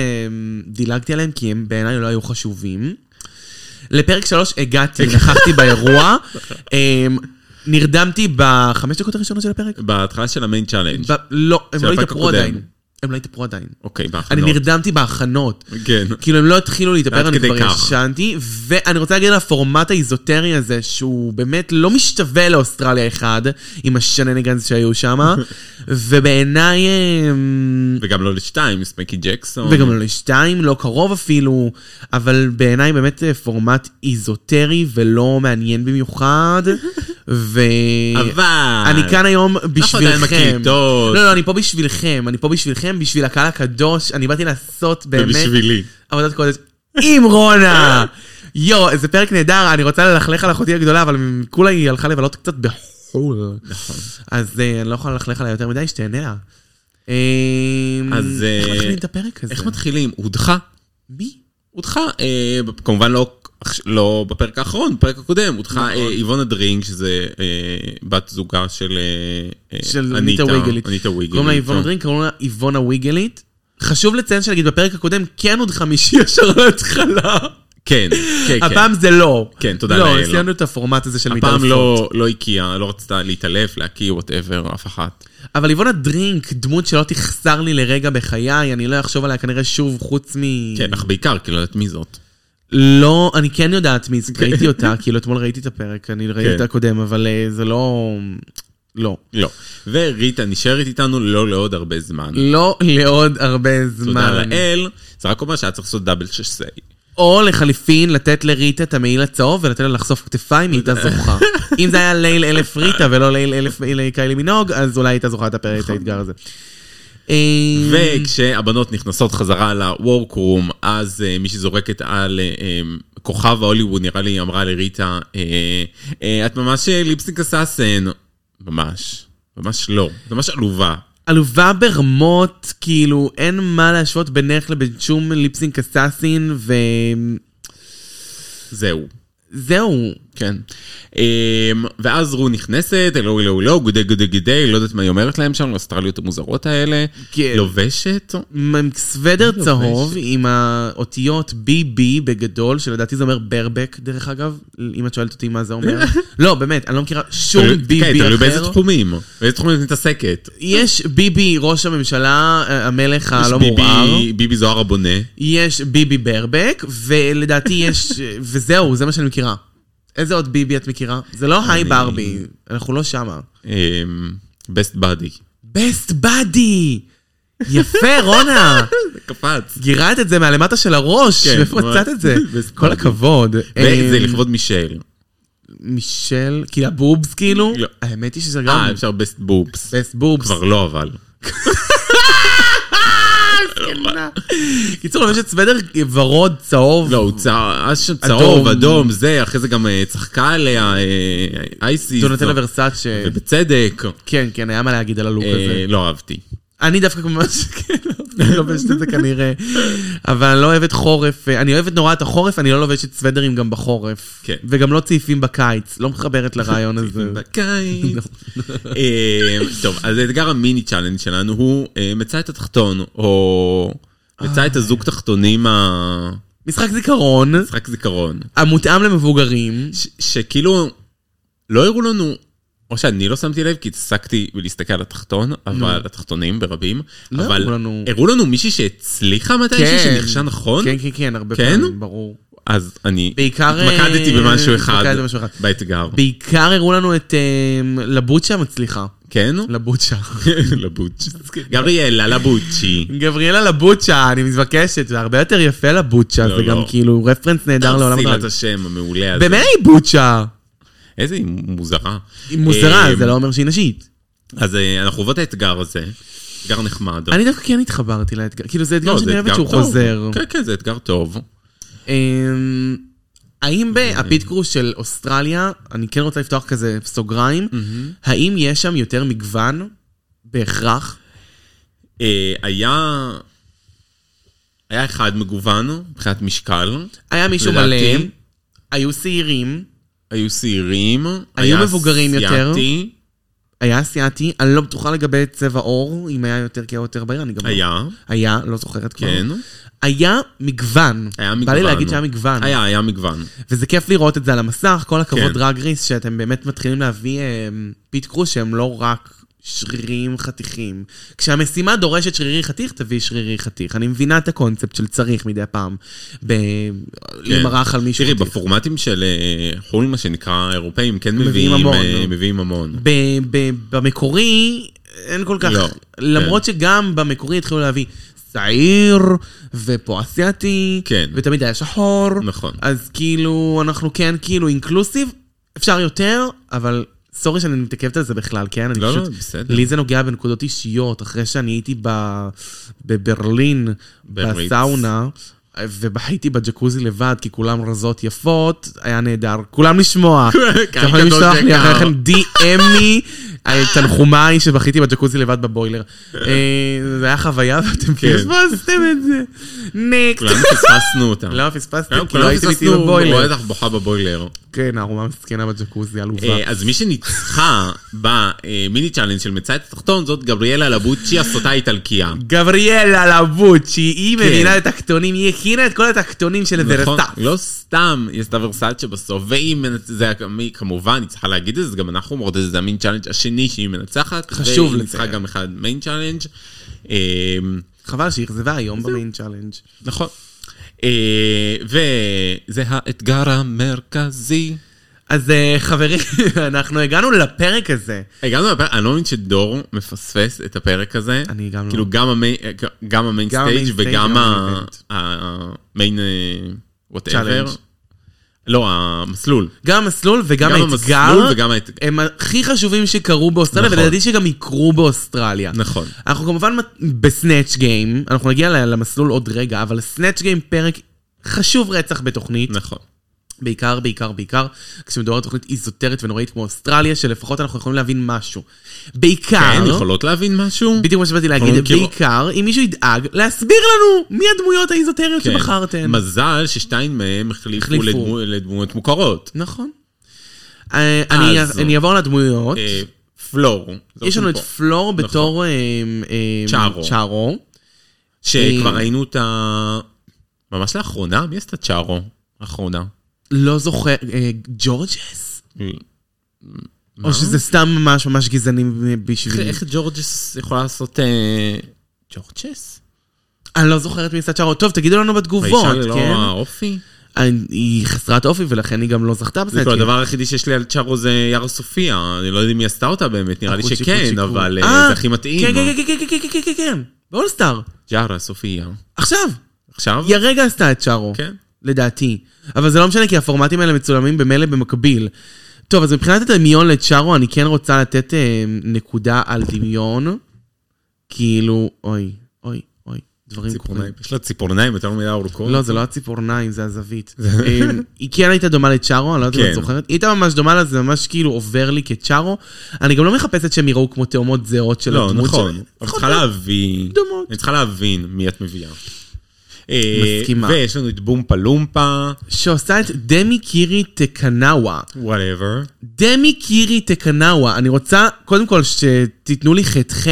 [SPEAKER 2] דילגתי עליהם, כי הם בעיניי לא היו חשובים. לפרק 3 הגעתי, נכחתי באירוע, אה, נרדמתי בחמש דקות הראשונות של הפרק.
[SPEAKER 3] בהתחלה של המיין צ'אלנג'.
[SPEAKER 2] ב- לא, הם
[SPEAKER 3] של
[SPEAKER 2] לא
[SPEAKER 3] הפרק
[SPEAKER 2] התאפרו
[SPEAKER 3] הקודם.
[SPEAKER 2] עדיין. הם לא התאפרו עדיין.
[SPEAKER 3] אוקיי, בהכנות.
[SPEAKER 2] אני נרדמתי בהכנות.
[SPEAKER 3] כן.
[SPEAKER 2] כאילו, הם לא התחילו להתאפר,
[SPEAKER 3] עד
[SPEAKER 2] אני
[SPEAKER 3] כדי
[SPEAKER 2] כבר
[SPEAKER 3] כך.
[SPEAKER 2] ישנתי. ואני רוצה להגיד על הפורמט האיזוטרי הזה, שהוא באמת לא משתווה לאוסטרליה אחד, עם השנניגנס שהיו שם, ובעיניי... אמ,
[SPEAKER 3] וגם לא לשתיים, סמקי ג'קסון.
[SPEAKER 2] וגם לא לשתיים, לא קרוב אפילו, אבל בעיניי באמת אה, פורמט איזוטרי ולא מעניין במיוחד, ו...
[SPEAKER 3] אבל...
[SPEAKER 2] אני כאן היום בשבילכם.
[SPEAKER 3] עדיין מקליטות.
[SPEAKER 2] לא, לא, אני פה בשבילכם, אני פה בשבילכם, בשביל הקהל הקדוש, אני באתי לעשות באמת...
[SPEAKER 3] ובשבילי.
[SPEAKER 2] עבודת קודש עם רונה. יואו, איזה פרק נהדר, אני רוצה ללכלך על אחותי הגדולה, אבל כולה היא הלכה לבלות קצת בחו"ל.
[SPEAKER 3] נכון.
[SPEAKER 2] אז אה, אני לא יכול ללכלך עליה יותר מדי, שתהנה לה. אה,
[SPEAKER 3] אז, אה,
[SPEAKER 2] איך מתחילים את הפרק הזה?
[SPEAKER 3] איך מתחילים? הודחה.
[SPEAKER 2] מי?
[SPEAKER 3] הודחה, אה, כמובן לא, לא בפרק האחרון, בפרק הקודם,
[SPEAKER 2] נכון.
[SPEAKER 3] הודחה אה, איבונה דרינג, שזה אה, בת זוגה של, אה, אה,
[SPEAKER 2] של אניטה וויגלית.
[SPEAKER 3] אניטה וויגלית.
[SPEAKER 2] קוראים לה איבונה
[SPEAKER 3] אה.
[SPEAKER 2] דרינק, קוראים לה איבונה וויגלית. חשוב לציין שנגיד בפרק הקודם כן עוד חמישי ישר להתחלה.
[SPEAKER 3] כן, כן, כן.
[SPEAKER 2] הפעם זה לא.
[SPEAKER 3] כן, תודה
[SPEAKER 2] לא,
[SPEAKER 3] לאל.
[SPEAKER 2] סיימנו את הפורמט הזה של
[SPEAKER 3] הפעם
[SPEAKER 2] מתעלפות.
[SPEAKER 3] לא, לא הקיאה, לא רצתה להתעלף, להקיא, וואטאבר, אף אחת.
[SPEAKER 2] אבל איבונה דרינק, דמות שלא תחסר לי לרגע בחיי, אני לא אחשוב עליה כנראה שוב, חוץ מ...
[SPEAKER 3] כן, אך בעיקר, כי לא יודעת מי זאת.
[SPEAKER 2] לא, אני כן יודעת מי זאת, ראיתי אותה, כאילו אתמול ראיתי את הפרק, אני ראיתי את הקודם, אבל אה, זה לא... לא.
[SPEAKER 3] לא. וריטה נשארת איתנו לא לעוד הרבה זמן.
[SPEAKER 2] לא לעוד הרבה
[SPEAKER 3] תודה
[SPEAKER 2] זמן. Mm.
[SPEAKER 3] לאל, זה רק אומר שהיה צריך לעשות דאבל שסי.
[SPEAKER 2] או לחליפין, לתת לריטה את המעיל הצהוב ולתת לה לחשוף כתפיים, היא הייתה זוכה. אם זה היה ליל אלף ריטה ולא ליל אלף ליל קיילי מינוג, אז אולי הייתה זוכה את הפרק, את האתגר הזה. אה,
[SPEAKER 3] וכשהבנות נכנסות חזרה ל-workroom, אז uh, מי שזורקת על uh, um, כוכב ההוליווד, נראה לי, אמרה לריטה, uh, uh, את ממש אה, ליפסינק אסאסן. ממש. ממש לא. את ממש עלובה.
[SPEAKER 2] עלובה ברמות, כאילו, אין מה להשוות בינך לבין שום ליפסינק אסאסין,
[SPEAKER 3] זהו.
[SPEAKER 2] וזהו.
[SPEAKER 3] כן. Um, ואז רו נכנסת, אלו אלו אלו, גודי גודי גודי, לא יודעת מה היא אומרת להם שם, האוסטרליות המוזרות האלה.
[SPEAKER 2] כן.
[SPEAKER 3] לובשת.
[SPEAKER 2] עם סוודר צהוב עם האותיות BB בגדול, שלדעתי זה אומר ברבק, דרך אגב, אם את שואלת אותי מה זה אומר. לא, באמת, אני לא מכירה שום
[SPEAKER 3] תלוי- כן,
[SPEAKER 2] BB
[SPEAKER 3] תלוי באיזה
[SPEAKER 2] אחר. אה,
[SPEAKER 3] תחומים. באיזה תחומים את מתעסקת.
[SPEAKER 2] יש ביבי ראש הממשלה, אה, המלך הלא
[SPEAKER 3] ביבי-
[SPEAKER 2] מעורער.
[SPEAKER 3] ביבי זוהר הבונה.
[SPEAKER 2] יש ביבי ברבק, ולדעתי יש... אה, וזהו, זה מה שאני מכירה. איזה עוד ביבי את מכירה? זה לא היי ברבי, אנחנו לא שמה.
[SPEAKER 3] אמ, best buddy.
[SPEAKER 2] בסט באדי! יפה, רונה!
[SPEAKER 3] זה קפץ.
[SPEAKER 2] גירדת את זה מהלמטה של הראש,
[SPEAKER 3] כן,
[SPEAKER 2] מאיפה
[SPEAKER 3] ממש.
[SPEAKER 2] מצאת את זה?
[SPEAKER 3] בסט
[SPEAKER 2] כל
[SPEAKER 3] באדי.
[SPEAKER 2] הכבוד.
[SPEAKER 3] וזה
[SPEAKER 2] אמ,
[SPEAKER 3] לכבוד מישל.
[SPEAKER 2] מישל, כאילו הבובס כאילו?
[SPEAKER 3] לא.
[SPEAKER 2] האמת היא שזה
[SPEAKER 3] אה,
[SPEAKER 2] גם
[SPEAKER 3] אפשר best boobs.
[SPEAKER 2] בסט בובס.
[SPEAKER 3] כבר לא אבל.
[SPEAKER 2] קיצור, לובשת סוודר ורוד, צהוב.
[SPEAKER 3] לא, הוא צה- אז שם צהוב,
[SPEAKER 2] אדום.
[SPEAKER 3] אדום, זה, אחרי זה גם אה, צחקה עליה, אה, אייסיס.
[SPEAKER 2] דונטלה
[SPEAKER 3] לא.
[SPEAKER 2] ורסאצ' אה,
[SPEAKER 3] ובצדק.
[SPEAKER 2] כן, כן, היה מה להגיד על הלוק
[SPEAKER 3] אה,
[SPEAKER 2] הזה.
[SPEAKER 3] לא אהבתי.
[SPEAKER 2] אני דווקא ממש כן לא לובשת את זה כנראה, אבל אני לא אוהבת חורף, אני אוהבת נורא את החורף, אני לא לובשת סוודרים גם בחורף.
[SPEAKER 3] כן.
[SPEAKER 2] וגם לא צעיפים בקיץ, לא מחברת לרעיון הזה.
[SPEAKER 3] בקיץ. אה, טוב, אז האתגר המיני צ'אלנג' שלנו הוא אה, מצא את התחתון, או מצא את
[SPEAKER 2] אה.
[SPEAKER 3] הזוג תחתונים ה...
[SPEAKER 2] משחק זיכרון,
[SPEAKER 3] משחק זיכרון.
[SPEAKER 2] המותאם למבוגרים.
[SPEAKER 3] ש- שכאילו, לא הראו לנו, או שאני לא שמתי לב, כי התעסקתי בלהסתכל על התחתון, אבל התחתונים ברבים,
[SPEAKER 2] Mm. לא
[SPEAKER 3] אבל
[SPEAKER 2] הראו לנו-
[SPEAKER 3] הראו לנו מישהי שהצליחה מתישהו, שנכשל נכון,
[SPEAKER 2] כן, כן, כן, הרבה
[SPEAKER 3] כן?
[SPEAKER 2] פעמים, ברור.
[SPEAKER 3] אז אני
[SPEAKER 2] בעיקר,
[SPEAKER 3] התמקדתי
[SPEAKER 2] אה,
[SPEAKER 3] במשהו אחד,
[SPEAKER 2] התמקדת במשהו אחד.
[SPEAKER 3] באתגר,
[SPEAKER 2] בעיקר הראו לנו את אה, לבוצ'ה המצליחה.
[SPEAKER 3] כן?
[SPEAKER 2] לא. לבוצ'ה.
[SPEAKER 3] לבוצ'י. גבריאלה לבוצ'י.
[SPEAKER 2] גבריאלה לבוצ'ה, אני מבקשת, זה הרבה יותר יפה לבוצ'ה,
[SPEAKER 3] לא,
[SPEAKER 2] זה
[SPEAKER 3] לא.
[SPEAKER 2] גם כאילו רפרנס נהדר לעולם
[SPEAKER 3] תפסי לה
[SPEAKER 2] הדרג.
[SPEAKER 3] את השם המעולה הזה.
[SPEAKER 2] באמת היא בוצ'ה.
[SPEAKER 3] איזה היא מוזרה.
[SPEAKER 2] היא מוזרה,
[SPEAKER 3] אה,
[SPEAKER 2] זה לא אומר שהיא נשית.
[SPEAKER 3] אז אה, אנחנו עוברים את האתגר הזה, אתגר נחמד.
[SPEAKER 2] אני דווקא כן התחברתי לאתגר, כאילו זה
[SPEAKER 3] לא,
[SPEAKER 2] אתגר
[SPEAKER 3] זה
[SPEAKER 2] שאני אוהבת
[SPEAKER 3] אתגר
[SPEAKER 2] שהוא
[SPEAKER 3] טוב.
[SPEAKER 2] חוזר.
[SPEAKER 3] כן, כן, זה אתגר טוב.
[SPEAKER 2] אמ, האם בהפיט קרוס של אוסטרליה, אני כן רוצה לפתוח כזה סוגריים, האם יש שם יותר מגוון בהכרח?
[SPEAKER 3] אה, היה... היה אחד מגוון מבחינת משקל,
[SPEAKER 2] היה מישהו
[SPEAKER 3] לדעתי-
[SPEAKER 2] מלא, היו שעירים,
[SPEAKER 3] היו שעירים,
[SPEAKER 2] מבוגרים יותר.
[SPEAKER 3] אסיאתי,
[SPEAKER 2] היה אסיאתי, אני לא בטוחה לגבי צבע עור, אם היה יותר כי יותר בעיר, אני גם לא...
[SPEAKER 3] היה,
[SPEAKER 2] היה, לא זוכרת כבר.
[SPEAKER 3] כן,
[SPEAKER 2] היה מגוון.
[SPEAKER 3] היה מגוון.
[SPEAKER 2] בא לי להגיד שהיה מגוון.
[SPEAKER 3] היה, היה מגוון.
[SPEAKER 2] וזה כיף לראות את זה על המסך, כל הכבוד
[SPEAKER 3] כן.
[SPEAKER 2] דרג ריס, שאתם באמת מתחילים להביא אה, פיט קרוס שהם לא רק שרירים חתיכים. כשהמשימה דורשת שרירי חתיך, תביא שרירי חתיך. אני מבינה את הקונספט של צריך מדי פעם, ב... למרח על מישהו
[SPEAKER 3] כן. תראי,
[SPEAKER 2] חתיך.
[SPEAKER 3] בפורמטים של אה, חו"ל, מה שנקרא, אירופאים, כן
[SPEAKER 2] מביאים
[SPEAKER 3] מביאים
[SPEAKER 2] המון,
[SPEAKER 3] אה,
[SPEAKER 2] נו.
[SPEAKER 3] מביאים המון.
[SPEAKER 2] ב... ב... במקורי, אין כל כך...
[SPEAKER 3] לא,
[SPEAKER 2] למרות שגם במקורי התחילו להביא שעיר, ופה אסיאתי,
[SPEAKER 3] כן.
[SPEAKER 2] ותמיד היה שחור.
[SPEAKER 3] נכון.
[SPEAKER 2] אז כאילו, אנחנו כן כאילו אינקלוסיב, אפשר יותר, אבל סורי שאני מתעכבת על זה בכלל, כן? אני
[SPEAKER 3] לא, לא,
[SPEAKER 2] פשוט...
[SPEAKER 3] בסדר.
[SPEAKER 2] לי זה נוגע בנקודות אישיות, אחרי שאני הייתי ב... בברלין,
[SPEAKER 3] בריץ.
[SPEAKER 2] בסאונה, ובהייתי בג'קוזי לבד, כי כולם רזות יפות, היה נהדר. כולם לשמוע. אתם יכולים
[SPEAKER 3] קדוש
[SPEAKER 2] לשלוח לי
[SPEAKER 3] יקר.
[SPEAKER 2] אחרי כן די.אמי, תנחומיי שבכיתי בג'קוזי לבד בבוילר. אה, זה היה חוויה ואתם
[SPEAKER 3] כן.
[SPEAKER 2] פספסתם את זה. נקסט.
[SPEAKER 3] כולנו פספסנו אותם.
[SPEAKER 2] לא
[SPEAKER 3] כן,
[SPEAKER 2] פספסתם, כי לא
[SPEAKER 3] כולנו
[SPEAKER 2] הייתם איתי
[SPEAKER 3] פספסנו, רואה
[SPEAKER 2] בבוילר.
[SPEAKER 3] אותך בוכה בבוילר.
[SPEAKER 2] כן, הארומה המסכנה בג'קוזי, עלובה.
[SPEAKER 3] אה, אז מי שניצחה במיני צ'אלנג' של מצאי התחתון זאת גבריאלה לבוצ'י, הסוטה האיטלקייה.
[SPEAKER 2] גבריאלה לבוצ'י, היא
[SPEAKER 3] כן.
[SPEAKER 2] מבינה את הכתונים, היא הכינה את כל הכתונים של
[SPEAKER 3] נכון,
[SPEAKER 2] ורטה.
[SPEAKER 3] לא סתם, היא עשתה ורסאצ'ה בסוף, והיא מנצחת, זה היה מי- כמובן, היא צריכה להגיד את זה, גם אנחנו אומרות את זה, זה המין צ'אלנג' השני שהיא מנצחת.
[SPEAKER 2] חשוב
[SPEAKER 3] והיא ניצחה
[SPEAKER 2] לציין.
[SPEAKER 3] גם אחד מיין צ'אלנג'. אה,
[SPEAKER 2] חבל שהיא אכזבה היום במיין צ'אלנג'.
[SPEAKER 3] נכון. אה, וזה האתגר המרכזי.
[SPEAKER 2] אז אה, חברים, אנחנו הגענו לפרק הזה.
[SPEAKER 3] הגענו לפרק, אני לא מבין שדור מפספס את הפרק הזה.
[SPEAKER 2] אני גם לא.
[SPEAKER 3] כאילו גם המי- גם המיין
[SPEAKER 2] גם
[SPEAKER 3] סטייג'
[SPEAKER 2] המיין סטייג',
[SPEAKER 3] וגם
[SPEAKER 2] גם
[SPEAKER 3] ה-
[SPEAKER 2] האיבנט.
[SPEAKER 3] ה- המיין וואטאבר.
[SPEAKER 2] צ'אלנג'.
[SPEAKER 3] לא, המסלול.
[SPEAKER 2] גם המסלול וגם
[SPEAKER 3] גם
[SPEAKER 2] האתגר,
[SPEAKER 3] המסלול וגם האתגר.
[SPEAKER 2] הם הכי חשובים שקרו באוסטרליה,
[SPEAKER 3] נכון.
[SPEAKER 2] ולדעתי שגם יקרו באוסטרליה.
[SPEAKER 3] נכון.
[SPEAKER 2] אנחנו כמובן מת- בסנאצ' גיים, אנחנו נגיע ל- למסלול עוד רגע, אבל סנאצ' גיים פרק חשוב רצח בתוכנית.
[SPEAKER 3] נכון.
[SPEAKER 2] בעיקר, בעיקר, בעיקר, כשמדובר על תוכנית איזוטרית ונוראית כמו אוסטרליה, שלפחות אנחנו יכולים להבין משהו. בעיקר,
[SPEAKER 3] כן, יכולות להבין משהו?
[SPEAKER 2] אה, לא? בדיוק מה שבאתי
[SPEAKER 3] אנחנו
[SPEAKER 2] להגיד,
[SPEAKER 3] כאילו-
[SPEAKER 2] בעיקר, אם מישהו ידאג, להסביר לנו מי הדמויות האיזוטריות
[SPEAKER 3] כן.
[SPEAKER 2] שבחרתם.
[SPEAKER 3] מזל ששתיים מהם החליפו
[SPEAKER 2] החליפו.
[SPEAKER 3] לדמו- לדמויות מוכרות.
[SPEAKER 2] נכון. אה, אני-
[SPEAKER 3] אז-
[SPEAKER 2] אני אעבור לדמויות.
[SPEAKER 3] אה, פלור.
[SPEAKER 2] יש לנו את
[SPEAKER 3] פה.
[SPEAKER 2] פלור בתור אה, אה,
[SPEAKER 3] צ'ארו.
[SPEAKER 2] צ'ארו.
[SPEAKER 3] שכבר
[SPEAKER 2] אה,
[SPEAKER 3] ראינו את ה... ממש לאחרונה? מי עשתה צ'ארו? לאחרונה.
[SPEAKER 2] לא זוכר, אה, ג'ורג'ס?
[SPEAKER 3] מה?
[SPEAKER 2] או שזה סתם ממש ממש גזעני בשבילי.
[SPEAKER 3] איך ג'ורג'ס יכולה לעשות... אה, ג'ורג'ס?
[SPEAKER 2] אני לא זוכרת מי עשה צ'ארו. טוב, תגידו לנו בתגובות,
[SPEAKER 3] האישה
[SPEAKER 2] כן?
[SPEAKER 3] ללא האופי?
[SPEAKER 2] אני- היא חסרת אופי ולכן היא גם לא זכתה
[SPEAKER 3] זה
[SPEAKER 2] בסנאצ'
[SPEAKER 3] כאילו
[SPEAKER 2] גיים.
[SPEAKER 3] הדבר היחידי שיש לי על צ'ארו זה יארה סופיה, אני לא יודע אם היא עשתה אותה באמת, נראה לי
[SPEAKER 2] הקוצ'י
[SPEAKER 3] שכן,
[SPEAKER 2] קוצ'י
[SPEAKER 3] אבל
[SPEAKER 2] קו.
[SPEAKER 3] אה,
[SPEAKER 2] אה,
[SPEAKER 3] זה הכי מתאים.
[SPEAKER 2] כן, כן, כן, כן, כן, כן, כן, כן, כן, באולסטאר.
[SPEAKER 3] ג'ארה סופיה.
[SPEAKER 2] עכשיו.
[SPEAKER 3] עכשיו?
[SPEAKER 2] היא הרגע עשתה את צ'ארו.
[SPEAKER 3] כן.
[SPEAKER 2] לדעתי. אבל זה לא משנה, כי הפורמטים האלה מצולמים במילא במקביל. טוב, אז מבחינת הדמיון לצ'ארו, אני כן רוצה לתת אה, נקודה על דמיון. כאילו, אוי, אוי, אוי, דברים קורים.
[SPEAKER 3] ציפורניים. יש לה ציפורניים יותר מדי ארוכות.
[SPEAKER 2] לא, זה לא הציפורניים, זה הזווית. אה, היא כן הייתה דומה לצ'ארו, אני לא יודעת אם את
[SPEAKER 3] כן.
[SPEAKER 2] זוכרת. היא הייתה ממש דומה לה, זה ממש כאילו עובר לי כצ'ארו. אני גם לא מחפשת שהם יראו כמו תאומות זהות של
[SPEAKER 3] לא,
[SPEAKER 2] הדמות
[SPEAKER 3] נכון.
[SPEAKER 2] שלהם.
[SPEAKER 3] אבל צריכה להבין.
[SPEAKER 2] דומות.
[SPEAKER 3] אני צריכה להבין מי את מביאה. אה,
[SPEAKER 2] מסכימה.
[SPEAKER 3] ויש לנו את בומפה לומפה,
[SPEAKER 2] שעושה את דמי קירי תקנאווה. אה,
[SPEAKER 3] וואטאבר.
[SPEAKER 2] דמי קירי תקנאווה, אני רוצה קודם כל שתיתנו לי ח"ח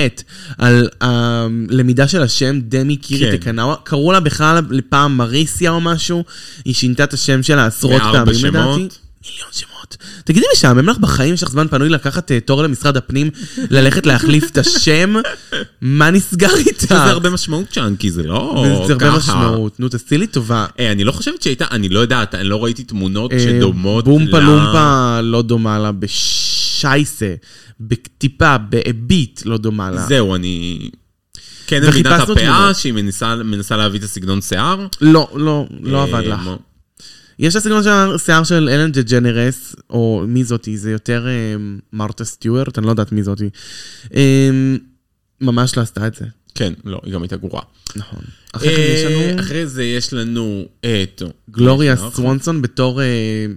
[SPEAKER 2] על הלמידה של השם דמי קירי
[SPEAKER 3] כן.
[SPEAKER 2] תקנאווה. קראו לה בכלל לפעם מריסיה או משהו, היא שינתה את השם שלה עשרות
[SPEAKER 3] מארבע
[SPEAKER 2] פעמים
[SPEAKER 3] שמות.
[SPEAKER 2] לדעתי. מיליון שמות. תגידי, משעמם לך בחיים, יש לך זמן פנוי לקחת אה, תור למשרד הפנים, ללכת להחליף את השם? מה נסגר איתך?
[SPEAKER 3] זה הרבה משמעות צ'אנקי, זה לא
[SPEAKER 2] זה הרבה
[SPEAKER 3] ככה.
[SPEAKER 2] משמעות. נו, תעשי לי טובה.
[SPEAKER 3] אה, אני לא חושבת שהייתה, אני לא יודעת, אני לא ראיתי תמונות
[SPEAKER 2] אה,
[SPEAKER 3] שדומות
[SPEAKER 2] בומפה
[SPEAKER 3] ל-
[SPEAKER 2] לומפה לא דומה לה בשייסה, בטיפה, בהביט לא דומה לה.
[SPEAKER 3] זהו, אני... כן, אני מבינה את
[SPEAKER 2] וחיפשנו
[SPEAKER 3] הפאה,
[SPEAKER 2] תמונות.
[SPEAKER 3] שהיא מנסה, מנסה להביא את הסגנון שיער.
[SPEAKER 2] לא, לא, לא עבד
[SPEAKER 3] אה,
[SPEAKER 2] לך.
[SPEAKER 3] מו-
[SPEAKER 2] יש את הסגנון של השיער של אלן ג'נרס, או מי זאתי, זה יותר אה, מרתה סטיוארט, אני לא יודעת מי זאתי. אה, ממש לא עשתה את זה.
[SPEAKER 3] כן, לא, היא גם הייתה גרועה.
[SPEAKER 2] נכון. אחרי כן יש
[SPEAKER 3] אה,
[SPEAKER 2] לנו
[SPEAKER 3] אחרי זה יש לנו את...
[SPEAKER 2] גלוריה
[SPEAKER 3] נכון.
[SPEAKER 2] סוונסון בתור אה,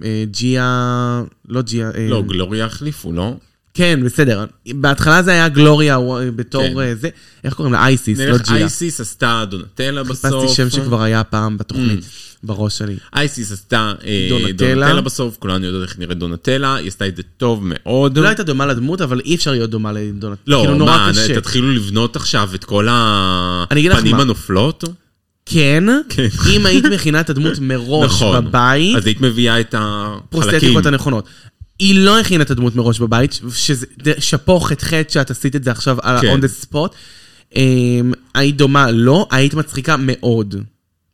[SPEAKER 2] אה, ג'יה, לא ג'יה, אה,
[SPEAKER 3] לא, גלוריה החליפו, לא?
[SPEAKER 2] כן, בסדר. בהתחלה זה היה גלוריה אה, בתור
[SPEAKER 3] כן.
[SPEAKER 2] אה, זה, איך קוראים לה? אייסיס, לא
[SPEAKER 3] נלך
[SPEAKER 2] ג'יה.
[SPEAKER 3] אייסיס עשתה דונטלה בסוף. Mm.
[SPEAKER 2] חיפשתי שם שכבר היה פעם בתוכנית, בראש שלי.
[SPEAKER 3] אייסיס עשתה אה,
[SPEAKER 2] דונטלה.
[SPEAKER 3] דונטלה בסוף, כולנו יודעות איך נראית דונטלה, היא עשתה את זה טוב מאוד.
[SPEAKER 2] לא הייתה דומה לדמות, אבל אי אפשר להיות דומה לדונלד.
[SPEAKER 3] לא,
[SPEAKER 2] כאילו נורא
[SPEAKER 3] מה,
[SPEAKER 2] קשה.
[SPEAKER 3] תתחילו לבנות עכשיו את כל
[SPEAKER 2] אני אגיד לך
[SPEAKER 3] הפנים
[SPEAKER 2] מה.
[SPEAKER 3] הנופלות?
[SPEAKER 2] כן,
[SPEAKER 3] כן.
[SPEAKER 2] אם היית מכינה את הדמות מראש
[SPEAKER 3] נכון.
[SPEAKER 2] בבית,
[SPEAKER 3] אז היית מביאה את החלקים.
[SPEAKER 2] פרוסטטיקות הנכונות. היא לא הכינה את הדמות מראש בבית, ש- שזה ד- שאפו חטא שאת עשית את זה עכשיו על
[SPEAKER 3] כן.
[SPEAKER 2] ה-on the spot. אמ, היית דומה לא, היית מצחיקה מאוד.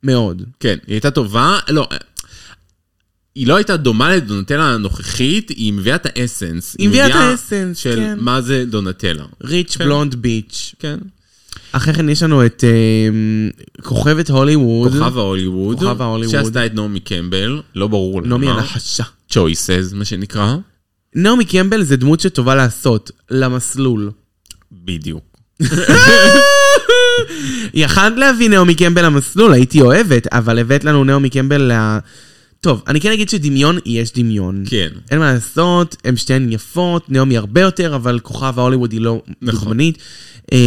[SPEAKER 2] מאוד.
[SPEAKER 3] כן, היא הייתה טובה, לא. היא לא הייתה דומה לדונטלה הנוכחית, היא מביאה את האסנס.
[SPEAKER 2] היא מביאה את
[SPEAKER 3] מביאה
[SPEAKER 2] האסנס,
[SPEAKER 3] של
[SPEAKER 2] כן.
[SPEAKER 3] מה זה דונטלה.
[SPEAKER 2] ריץ' בלונד ביץ'.
[SPEAKER 3] כן.
[SPEAKER 2] אחרי כן יש לנו את אמ, כוכבת הוליווד,
[SPEAKER 3] כוכב ההוליווד.
[SPEAKER 2] כוכב ההוליווד.
[SPEAKER 3] שעשתה את נעמי קמבל, לא ברור למה.
[SPEAKER 2] נעמי הנחשה.
[SPEAKER 3] choices, מה שנקרא.
[SPEAKER 2] נעמי קמבל זה דמות שטובה לעשות, למסלול.
[SPEAKER 3] בדיוק.
[SPEAKER 2] יכלת להביא נעמי קמבל למסלול, הייתי אוהבת, אבל הבאת לנו נעמי קמבל ל... טוב, אני כן אגיד שדמיון, יש דמיון.
[SPEAKER 3] כן.
[SPEAKER 2] אין מה לעשות, הן שתיהן יפות, נעמי הרבה יותר, אבל כוכב ההוליווד היא לא
[SPEAKER 3] נכון.
[SPEAKER 2] דוגמנית. אמ,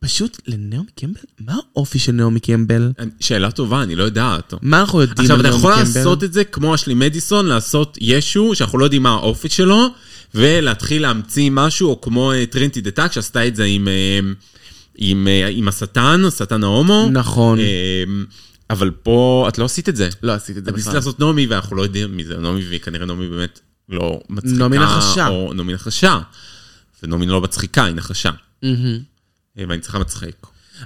[SPEAKER 2] פשוט לנעמי קמבל, מה האופי של נעמי קמבל?
[SPEAKER 3] שאלה טובה, אני לא יודעת.
[SPEAKER 2] מה אנחנו יודעים על
[SPEAKER 3] עכשיו,
[SPEAKER 2] נעמי
[SPEAKER 3] אתה
[SPEAKER 2] קמבל?
[SPEAKER 3] יכול לעשות את זה כמו אשלי מדיסון, לעשות ישו, שאנחנו לא יודעים מה האופי שלו, ולהתחיל להמציא משהו, או כמו אה, טרינטי דה טאק, שעשתה את זה עם, אה, עם, אה, עם השטן, השטן ההומו.
[SPEAKER 2] נכון.
[SPEAKER 3] אה, אבל פה את לא עשית את זה.
[SPEAKER 2] לא עשית את זה
[SPEAKER 3] את ניסית
[SPEAKER 2] בכלל.
[SPEAKER 3] לעשות נעמי, ואנחנו לא יודעים מי זה נעמי, והיא כנראה נעמי באמת לא מצחיקה.
[SPEAKER 2] נעמי נחשה.
[SPEAKER 3] או נעמי נחשה. ונעמי לא מצחיקה, היא נחשה.
[SPEAKER 2] מהמם.
[SPEAKER 3] אה, ואני צריכה מצחיק.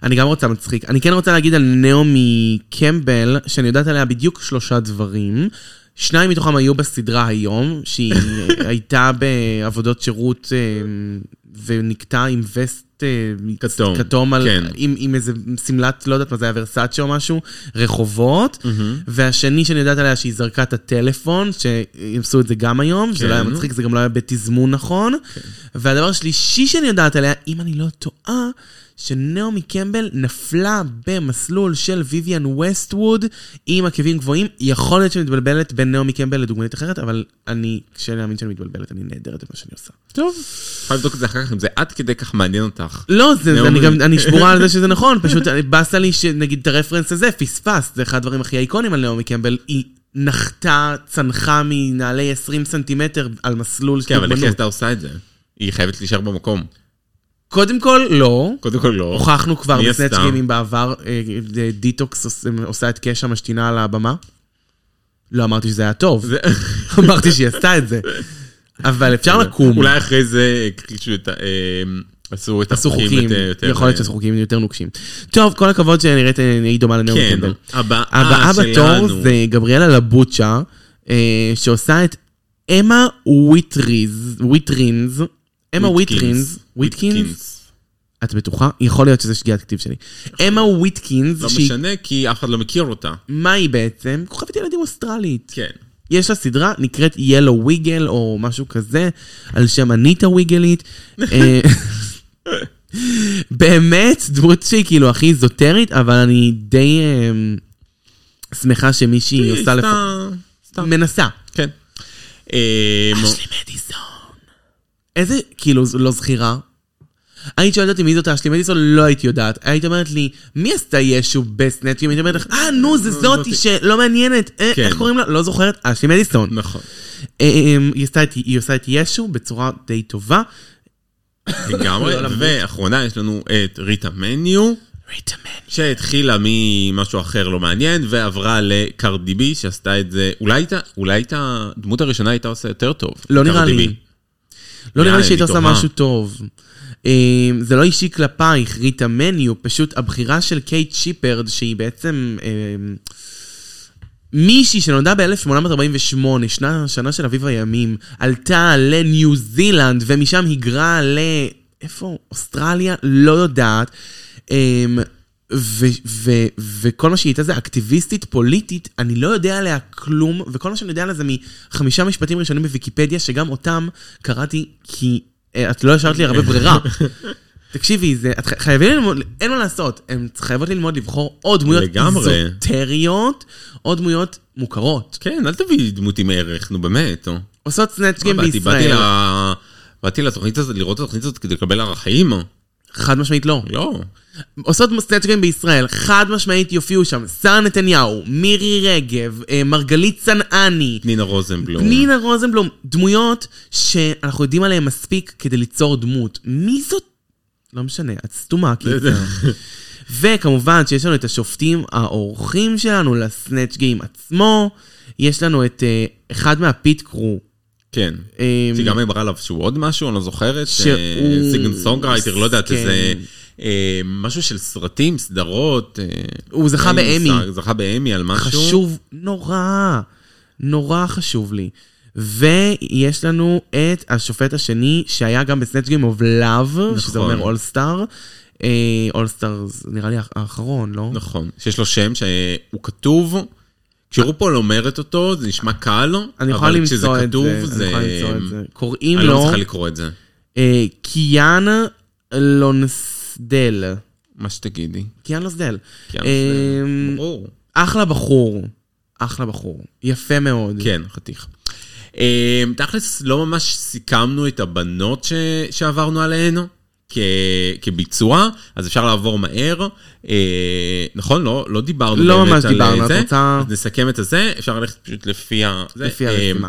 [SPEAKER 2] אני גם רוצה מצחיק. אני כן רוצה להגיד על נעמי קמבל, שאני יודעת עליה בדיוק שלושה דברים. שניים מתוכם היו בסדרה היום, שהיא הייתה בעבודות שירות אה, ונקטעה עם וסט אה,
[SPEAKER 3] כתום,
[SPEAKER 2] כתום על,
[SPEAKER 3] כן.
[SPEAKER 2] עם, עם איזה שמלת, לא יודעת מה זה היה, ורסאצ'ה או משהו, רחובות. והשני שאני יודעת עליה שהיא זרקה את הטלפון, שהם עשו את זה גם היום, שזה
[SPEAKER 3] כן.
[SPEAKER 2] לא היה מצחיק, זה גם לא היה בתזמון נכון. והדבר השלישי שאני יודעת עליה, אם אני לא טועה, שנעמי קמבל נפלה במסלול של ויויאן ווסטווד עם עקבים גבוהים. יכול להיות שמתבלבלת בין נעמי קמבל לדוגמנית אחרת, אבל אני, קשה להאמין שאני מתבלבלת, אני נהדרת במה שאני עושה.
[SPEAKER 3] טוב. יכולה לבדוק את זה אחר כך, אם זה עד כדי כך מעניין אותך.
[SPEAKER 2] לא, זה, זה,
[SPEAKER 3] נעמי.
[SPEAKER 2] אני גם, אני שבורה על זה שזה נכון, פשוט אני- באסה לי שנגיד את הרפרנס הזה, פספסת, זה אחד הדברים הכי איקונים על נעמי קמבל, היא נחתה, צנחה מנעלי 20 סנטימטר על מסלול של
[SPEAKER 3] כן, אבל איך היא
[SPEAKER 2] דוגמנות.
[SPEAKER 3] הייתה עושה את זה? היא חייבת להישאר במקום.
[SPEAKER 2] קודם כל, לא.
[SPEAKER 3] קודם כל לא.
[SPEAKER 2] הוכחנו כבר
[SPEAKER 3] מי
[SPEAKER 2] בסנאצ'
[SPEAKER 3] עשתה?
[SPEAKER 2] גיימים בעבר, אה, אה, דיטוקס עוש- עושה את קשע משתינה על הבמה. לא אמרתי שזה היה טוב,
[SPEAKER 3] זה-
[SPEAKER 2] אמרתי שהיא עשתה את זה. אבל אפשר לקום.
[SPEAKER 3] אולי אחרי זה הכחישו את ה... אה, עשו את
[SPEAKER 2] עשו
[SPEAKER 3] החוקים
[SPEAKER 2] חוקים,
[SPEAKER 3] יותר- יותר...
[SPEAKER 2] יכול להיות
[SPEAKER 3] אה,
[SPEAKER 2] שעשו חוקים יותר נוקשים. טוב, כל הכבוד שנראית אה, היא דומה לנאום
[SPEAKER 3] כן,
[SPEAKER 2] קמבל.
[SPEAKER 3] הבאה
[SPEAKER 2] הבאה
[SPEAKER 3] שלנו.
[SPEAKER 2] בתור זה גבריאלה לבוצ'ה, אה, שעושה את אמה וויטריז, וויטרינז, אמה וויטרינז, וויטקינס, את בטוחה? יכול להיות שזה שגיאת כתיב שלי. אמה וויטקינס,
[SPEAKER 3] לא
[SPEAKER 2] שהיא,
[SPEAKER 3] משנה, כי אף אחד לא מכיר אותה.
[SPEAKER 2] מה היא בעצם? כוכבת ילדים אוסטרלית.
[SPEAKER 3] כן.
[SPEAKER 2] יש לה סדרה, נקראת ילו וויגל או משהו כזה, על שם אניטה וויגלית. אה, באמת, דמות שהיא כאילו הכי איזוטרית, אבל אני די אה, שמחה שמישהי עושה לפחות.
[SPEAKER 3] סתם, סתם.
[SPEAKER 2] מנסה.
[SPEAKER 3] כן. אה,
[SPEAKER 2] אשלי מדיסון. איזה, כאילו, זו לא זכירה. היית שואלת אותי מי זאת אשלי מדיסון, לא הייתי יודעת. היית אומרת לי, מי עשתה ישו בסנאצ'ים? הייתי אומרת לך, אה, נו, זה זאתי
[SPEAKER 3] זאתי.
[SPEAKER 2] שלא מעניינת. אה,
[SPEAKER 3] לא, כן.
[SPEAKER 2] איך קוראים לה? לא זוכרת. אשלי מדיסון.
[SPEAKER 3] נכון.
[SPEAKER 2] אה, אה, היא עשתה את- היא עושה את ישו בצורה די טובה.
[SPEAKER 3] לגמרי.
[SPEAKER 2] לא למות.
[SPEAKER 3] ואחרונה יש לנו את ריטה מניו. שהתחילה ממשהו אחר לא מעניין, ועברה לקרדי בי, שעשתה את זה, אולי הייתה, אולי הייתה, הדמות הראשונה הייתה עושה יותר טוב.
[SPEAKER 2] לא נראה
[SPEAKER 3] קרדי
[SPEAKER 2] לי.
[SPEAKER 3] בי.
[SPEAKER 2] לא נראה
[SPEAKER 3] יאללה,
[SPEAKER 2] לי שהיית
[SPEAKER 3] אני
[SPEAKER 2] עושה
[SPEAKER 3] תוהה.
[SPEAKER 2] משהו טוב. אה, זה לא אישי כלפייך, ריטה מניו, פשוט הבחירה של קייט שיפרד, שהיא בעצם אה, מישהי שנולדה ב-1848, שנה, שנה של אביב הימים, עלתה לניו זילנד, ומשם היגרה ל... איפה? אוסטרליה? לא יודעת. אה, ו- ו- וכל מה שהיא הייתה זה אקטיביסטית פוליטית, אני לא יודע עליה כלום, וכל מה שאני יודע עליה זה מחמישה משפטים ראשונים בוויקיפדיה, שגם אותם קראתי כי אה, את לא השארת לי הרבה ברירה. תקשיבי, זה, את ח- חייבים ללמוד, אין מה לעשות, הן חייבות ללמוד לבחור או דמויות
[SPEAKER 3] לגמרי.
[SPEAKER 2] איזוטריות, או דמויות מוכרות.
[SPEAKER 3] כן, אל תביאי דמות עם ערך, נו באמת. נו.
[SPEAKER 2] עושות סנאצ'קים
[SPEAKER 3] לא, באתי- באתי
[SPEAKER 2] כן, בישראל.
[SPEAKER 3] ל- באתי לתוכנית הזאת, לראות את התוכנית הזאת כדי לקבל ערכים?
[SPEAKER 2] חד משמעית לא.
[SPEAKER 3] לא.
[SPEAKER 2] עושות סנאצ'קים בישראל, חד משמעית יופיעו שם שרה נתניהו, מירי רגב, אה, מרגלית צנעני,
[SPEAKER 3] פנינה רוזנבלום.
[SPEAKER 2] פנינה רוזנבלום, דמויות שאנחנו יודעים עליהן מספיק כדי ליצור דמות. מי זאת? לא משנה, את סתומה כאילו. וכמובן שיש לנו את השופטים האורחים שלנו לסנאצ' גיים עצמו, יש לנו את אה, אחד מהפיט קרו.
[SPEAKER 3] כן.
[SPEAKER 2] אה,
[SPEAKER 3] שגם אמרה עליו שהוא עוד משהו, אני לא זוכרת.
[SPEAKER 2] שהוא-
[SPEAKER 3] סיגן סונגרייטר, לא יודעת,
[SPEAKER 2] כן.
[SPEAKER 3] איזה... אה, משהו של סרטים, סדרות. אה,
[SPEAKER 2] הוא זכה
[SPEAKER 3] אין לי
[SPEAKER 2] באמי.
[SPEAKER 3] מושג, זכה באמי על משהו.
[SPEAKER 2] חשוב נורא, נורא חשוב לי. ויש לנו את השופט השני, שהיה גם בסנאצ' גיים אוף לאב, שזה
[SPEAKER 3] נכון.
[SPEAKER 2] אומר אולסטאר. אה, אולסטאר נראה לי האח- האחרון, לא?
[SPEAKER 3] נכון, שיש לו שם שהוא כתוב, כשרופול אומרת אותו זה נשמע קל,
[SPEAKER 2] אני יכולה
[SPEAKER 3] אבל כשזה
[SPEAKER 2] למצוא את
[SPEAKER 3] כתוב
[SPEAKER 2] זה, אני
[SPEAKER 3] זה...
[SPEAKER 2] יכולה למצוא את זה. קוראים
[SPEAKER 3] אני לא
[SPEAKER 2] לו
[SPEAKER 3] מצליחה לקרוא את זה,
[SPEAKER 2] אה, קיאן לונסדל.
[SPEAKER 3] מה שתגידי.
[SPEAKER 2] קיאן לונסדל.
[SPEAKER 3] כן,
[SPEAKER 2] אה,
[SPEAKER 3] זה ברור.
[SPEAKER 2] אחלה בחור. אחלה בחור. יפה מאוד.
[SPEAKER 3] כן, חתיך. אה, תכלס, לא ממש סיכמנו את הבנות ש... שעברנו עליהן כ... כביצוע, אז אפשר לעבור מהר. אה, נכון? לא, לא דיברנו
[SPEAKER 2] לא
[SPEAKER 3] באמת
[SPEAKER 2] ממש
[SPEAKER 3] על אה,
[SPEAKER 2] דיברנו, את
[SPEAKER 3] זה.
[SPEAKER 2] רוצה-
[SPEAKER 3] אז נסכם את הזה, אפשר ללכת פשוט לפי ה... זה.
[SPEAKER 2] לפי
[SPEAKER 3] אה,
[SPEAKER 2] הרשימה.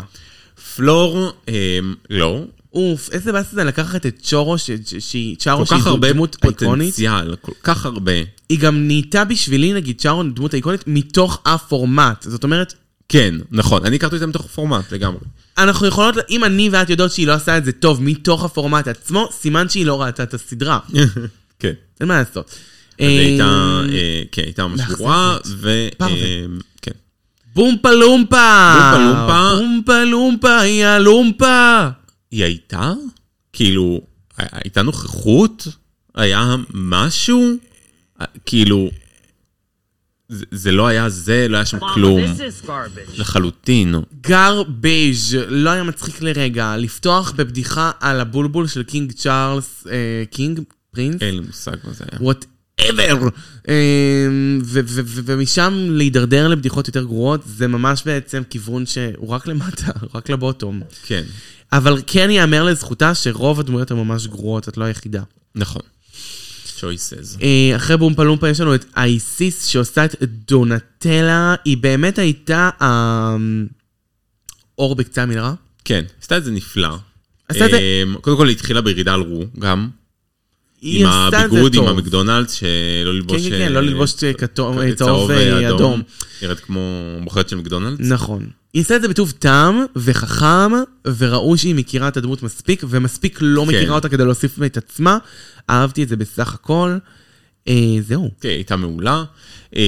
[SPEAKER 3] פלור, אה, לא,
[SPEAKER 2] אוף, איזה באסה זה לקחת את צ'ורו, ש- ש- שהיא צ'ארו,
[SPEAKER 3] כל
[SPEAKER 2] שהיא
[SPEAKER 3] כך הרבה
[SPEAKER 2] דמות איקונית.
[SPEAKER 3] פוטנציאל, כל כך הרבה.
[SPEAKER 2] היא גם נהייתה בשבילי, נגיד, צ'ארו דמות איקונית, מתוך הפורמט. זאת אומרת,
[SPEAKER 3] כן, נכון, אני הכרתי אותה מתוך פורמט לגמרי.
[SPEAKER 2] אנחנו יכולות, אם אני ואת יודעות שהיא לא עשה את זה טוב מתוך הפורמט עצמו, סימן שהיא לא ראתה את הסדרה.
[SPEAKER 3] כן.
[SPEAKER 2] אין מה לעשות.
[SPEAKER 3] היא הייתה,
[SPEAKER 2] אה,
[SPEAKER 3] אה, כן, הייתה ממש גרועה, ו...
[SPEAKER 2] פרווה.
[SPEAKER 3] אה, כן.
[SPEAKER 2] בומפה לומפה!
[SPEAKER 3] בומפה לומפה.
[SPEAKER 2] בומפה לומפה היא הלומפה!
[SPEAKER 3] היא הייתה? כאילו, הי- הייתה נוכחות? היה משהו? אה, כאילו, זה- זה לא היה זה, לא היה שם כלום. לחלוטין.
[SPEAKER 2] גרבייז' לא היה מצחיק לרגע. לפתוח בבדיחה על הבולבול של קינג צ'ארלס, אה, קינג? פרינס?
[SPEAKER 3] אין לי מושג מה זה היה.
[SPEAKER 2] וואטאבר. אמ, ומשם להידרדר לבדיחות יותר גרועות, זה ממש בעצם כיוון שהוא רק למטה, רק לבוטום.
[SPEAKER 3] כן,
[SPEAKER 2] אבל כן ייאמר לזכותה שרוב הדמויות הן ממש גרועות, את לא היחידה.
[SPEAKER 3] נכון. choices.
[SPEAKER 2] אה, אחרי בומפה לומפה יש לנו את אייסיס שעושה את דונטלה, היא באמת הייתה האור בקצה המנהרה.
[SPEAKER 3] כן, עשתה את זה נפלא.
[SPEAKER 2] עשתה את זה-
[SPEAKER 3] אמ, קודם כל היא התחילה בירידה על רו, גם.
[SPEAKER 2] היא
[SPEAKER 3] עם
[SPEAKER 2] עשתה את זה
[SPEAKER 3] הביגוד, עם
[SPEAKER 2] טוב.
[SPEAKER 3] המקדונלדס, שלא
[SPEAKER 2] כן,
[SPEAKER 3] ללבוש...
[SPEAKER 2] כן, כן,
[SPEAKER 3] אה,
[SPEAKER 2] לא ללבוש אה, כתום, אה,
[SPEAKER 3] אה,
[SPEAKER 2] צהוב אה, אדום.
[SPEAKER 3] נראית כמו מוכרת של מקדונלדס.
[SPEAKER 2] נכון. היא עשתה את זה בטוב טעם וחכם, וראו שהיא מכירה את הדמות מספיק, ומספיק לא
[SPEAKER 3] כן.
[SPEAKER 2] מכירה אותה כדי להוסיף את עצמה. אהבתי את זה בסך הכל. אה, זהו.
[SPEAKER 3] כן, היא הייתה מעולה. אמ,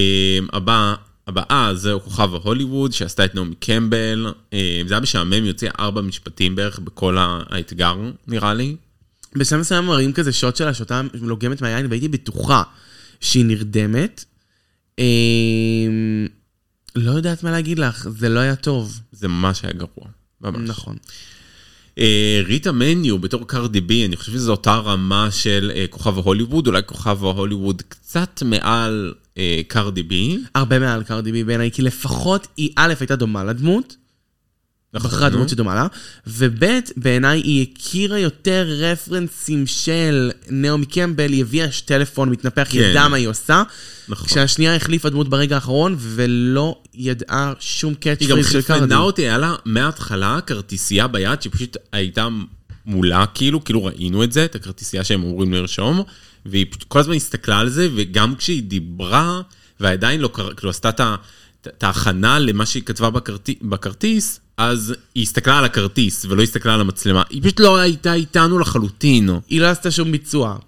[SPEAKER 3] הבא- הבאה זה כוכב ההוליווד שעשתה את נעמי קמבל. אמ, זה היה משעמם, יוצא ארבע משפטים בערך בכל ה- האתגר, נראה לי.
[SPEAKER 2] בשלב מסוים מראים כזה שוט שלה, שותה לוגמת מהיין, והייתי בטוחה שהיא נרדמת. אה, לא יודעת מה להגיד לך, זה לא היה טוב.
[SPEAKER 3] זה ממש היה גרוע. ממש.
[SPEAKER 2] נכון.
[SPEAKER 3] אה, ריטה מניו בתור קרדי בי, אני חושב שזו אותה רמה של אה, כוכב ההוליווד, אולי כוכב ההוליווד קצת מעל אה, קרדי בי.
[SPEAKER 2] הרבה מעל קרדי בי בעיניי, כי לפחות היא א', הייתה דומה לדמות, בחרה דמות שדומה לה, וב' בעיניי היא הכירה יותר רפרנסים של נעמי קמבל, היא הביאה טלפון מתנפח, היא
[SPEAKER 3] כן.
[SPEAKER 2] ידעה מה היא עושה,
[SPEAKER 3] נכון.
[SPEAKER 2] כשהשנייה החליפה דמות ברגע האחרון, ולא ידעה שום קאץ'
[SPEAKER 3] היא גם
[SPEAKER 2] פריז של קרדי.
[SPEAKER 3] חיפנה אותי, היה לה מההתחלה כרטיסייה ביד שפשוט הייתה מולה, כאילו, כאילו ראינו את זה, את הכרטיסייה שהם אמורים לרשום, והיא פשוט כל הזמן הסתכלה על זה, וגם כשהיא דיברה, ועדיין לא קרה, כאילו עשתה את ה- את ההכנה למה שהיא כתבה בכרטיס, בכרטיס, אז היא הסתכלה על הכרטיס ולא הסתכלה על המצלמה. היא פשוט לא הייתה איתנו לחלוטין.
[SPEAKER 2] היא לא עשתה שום ביצוע.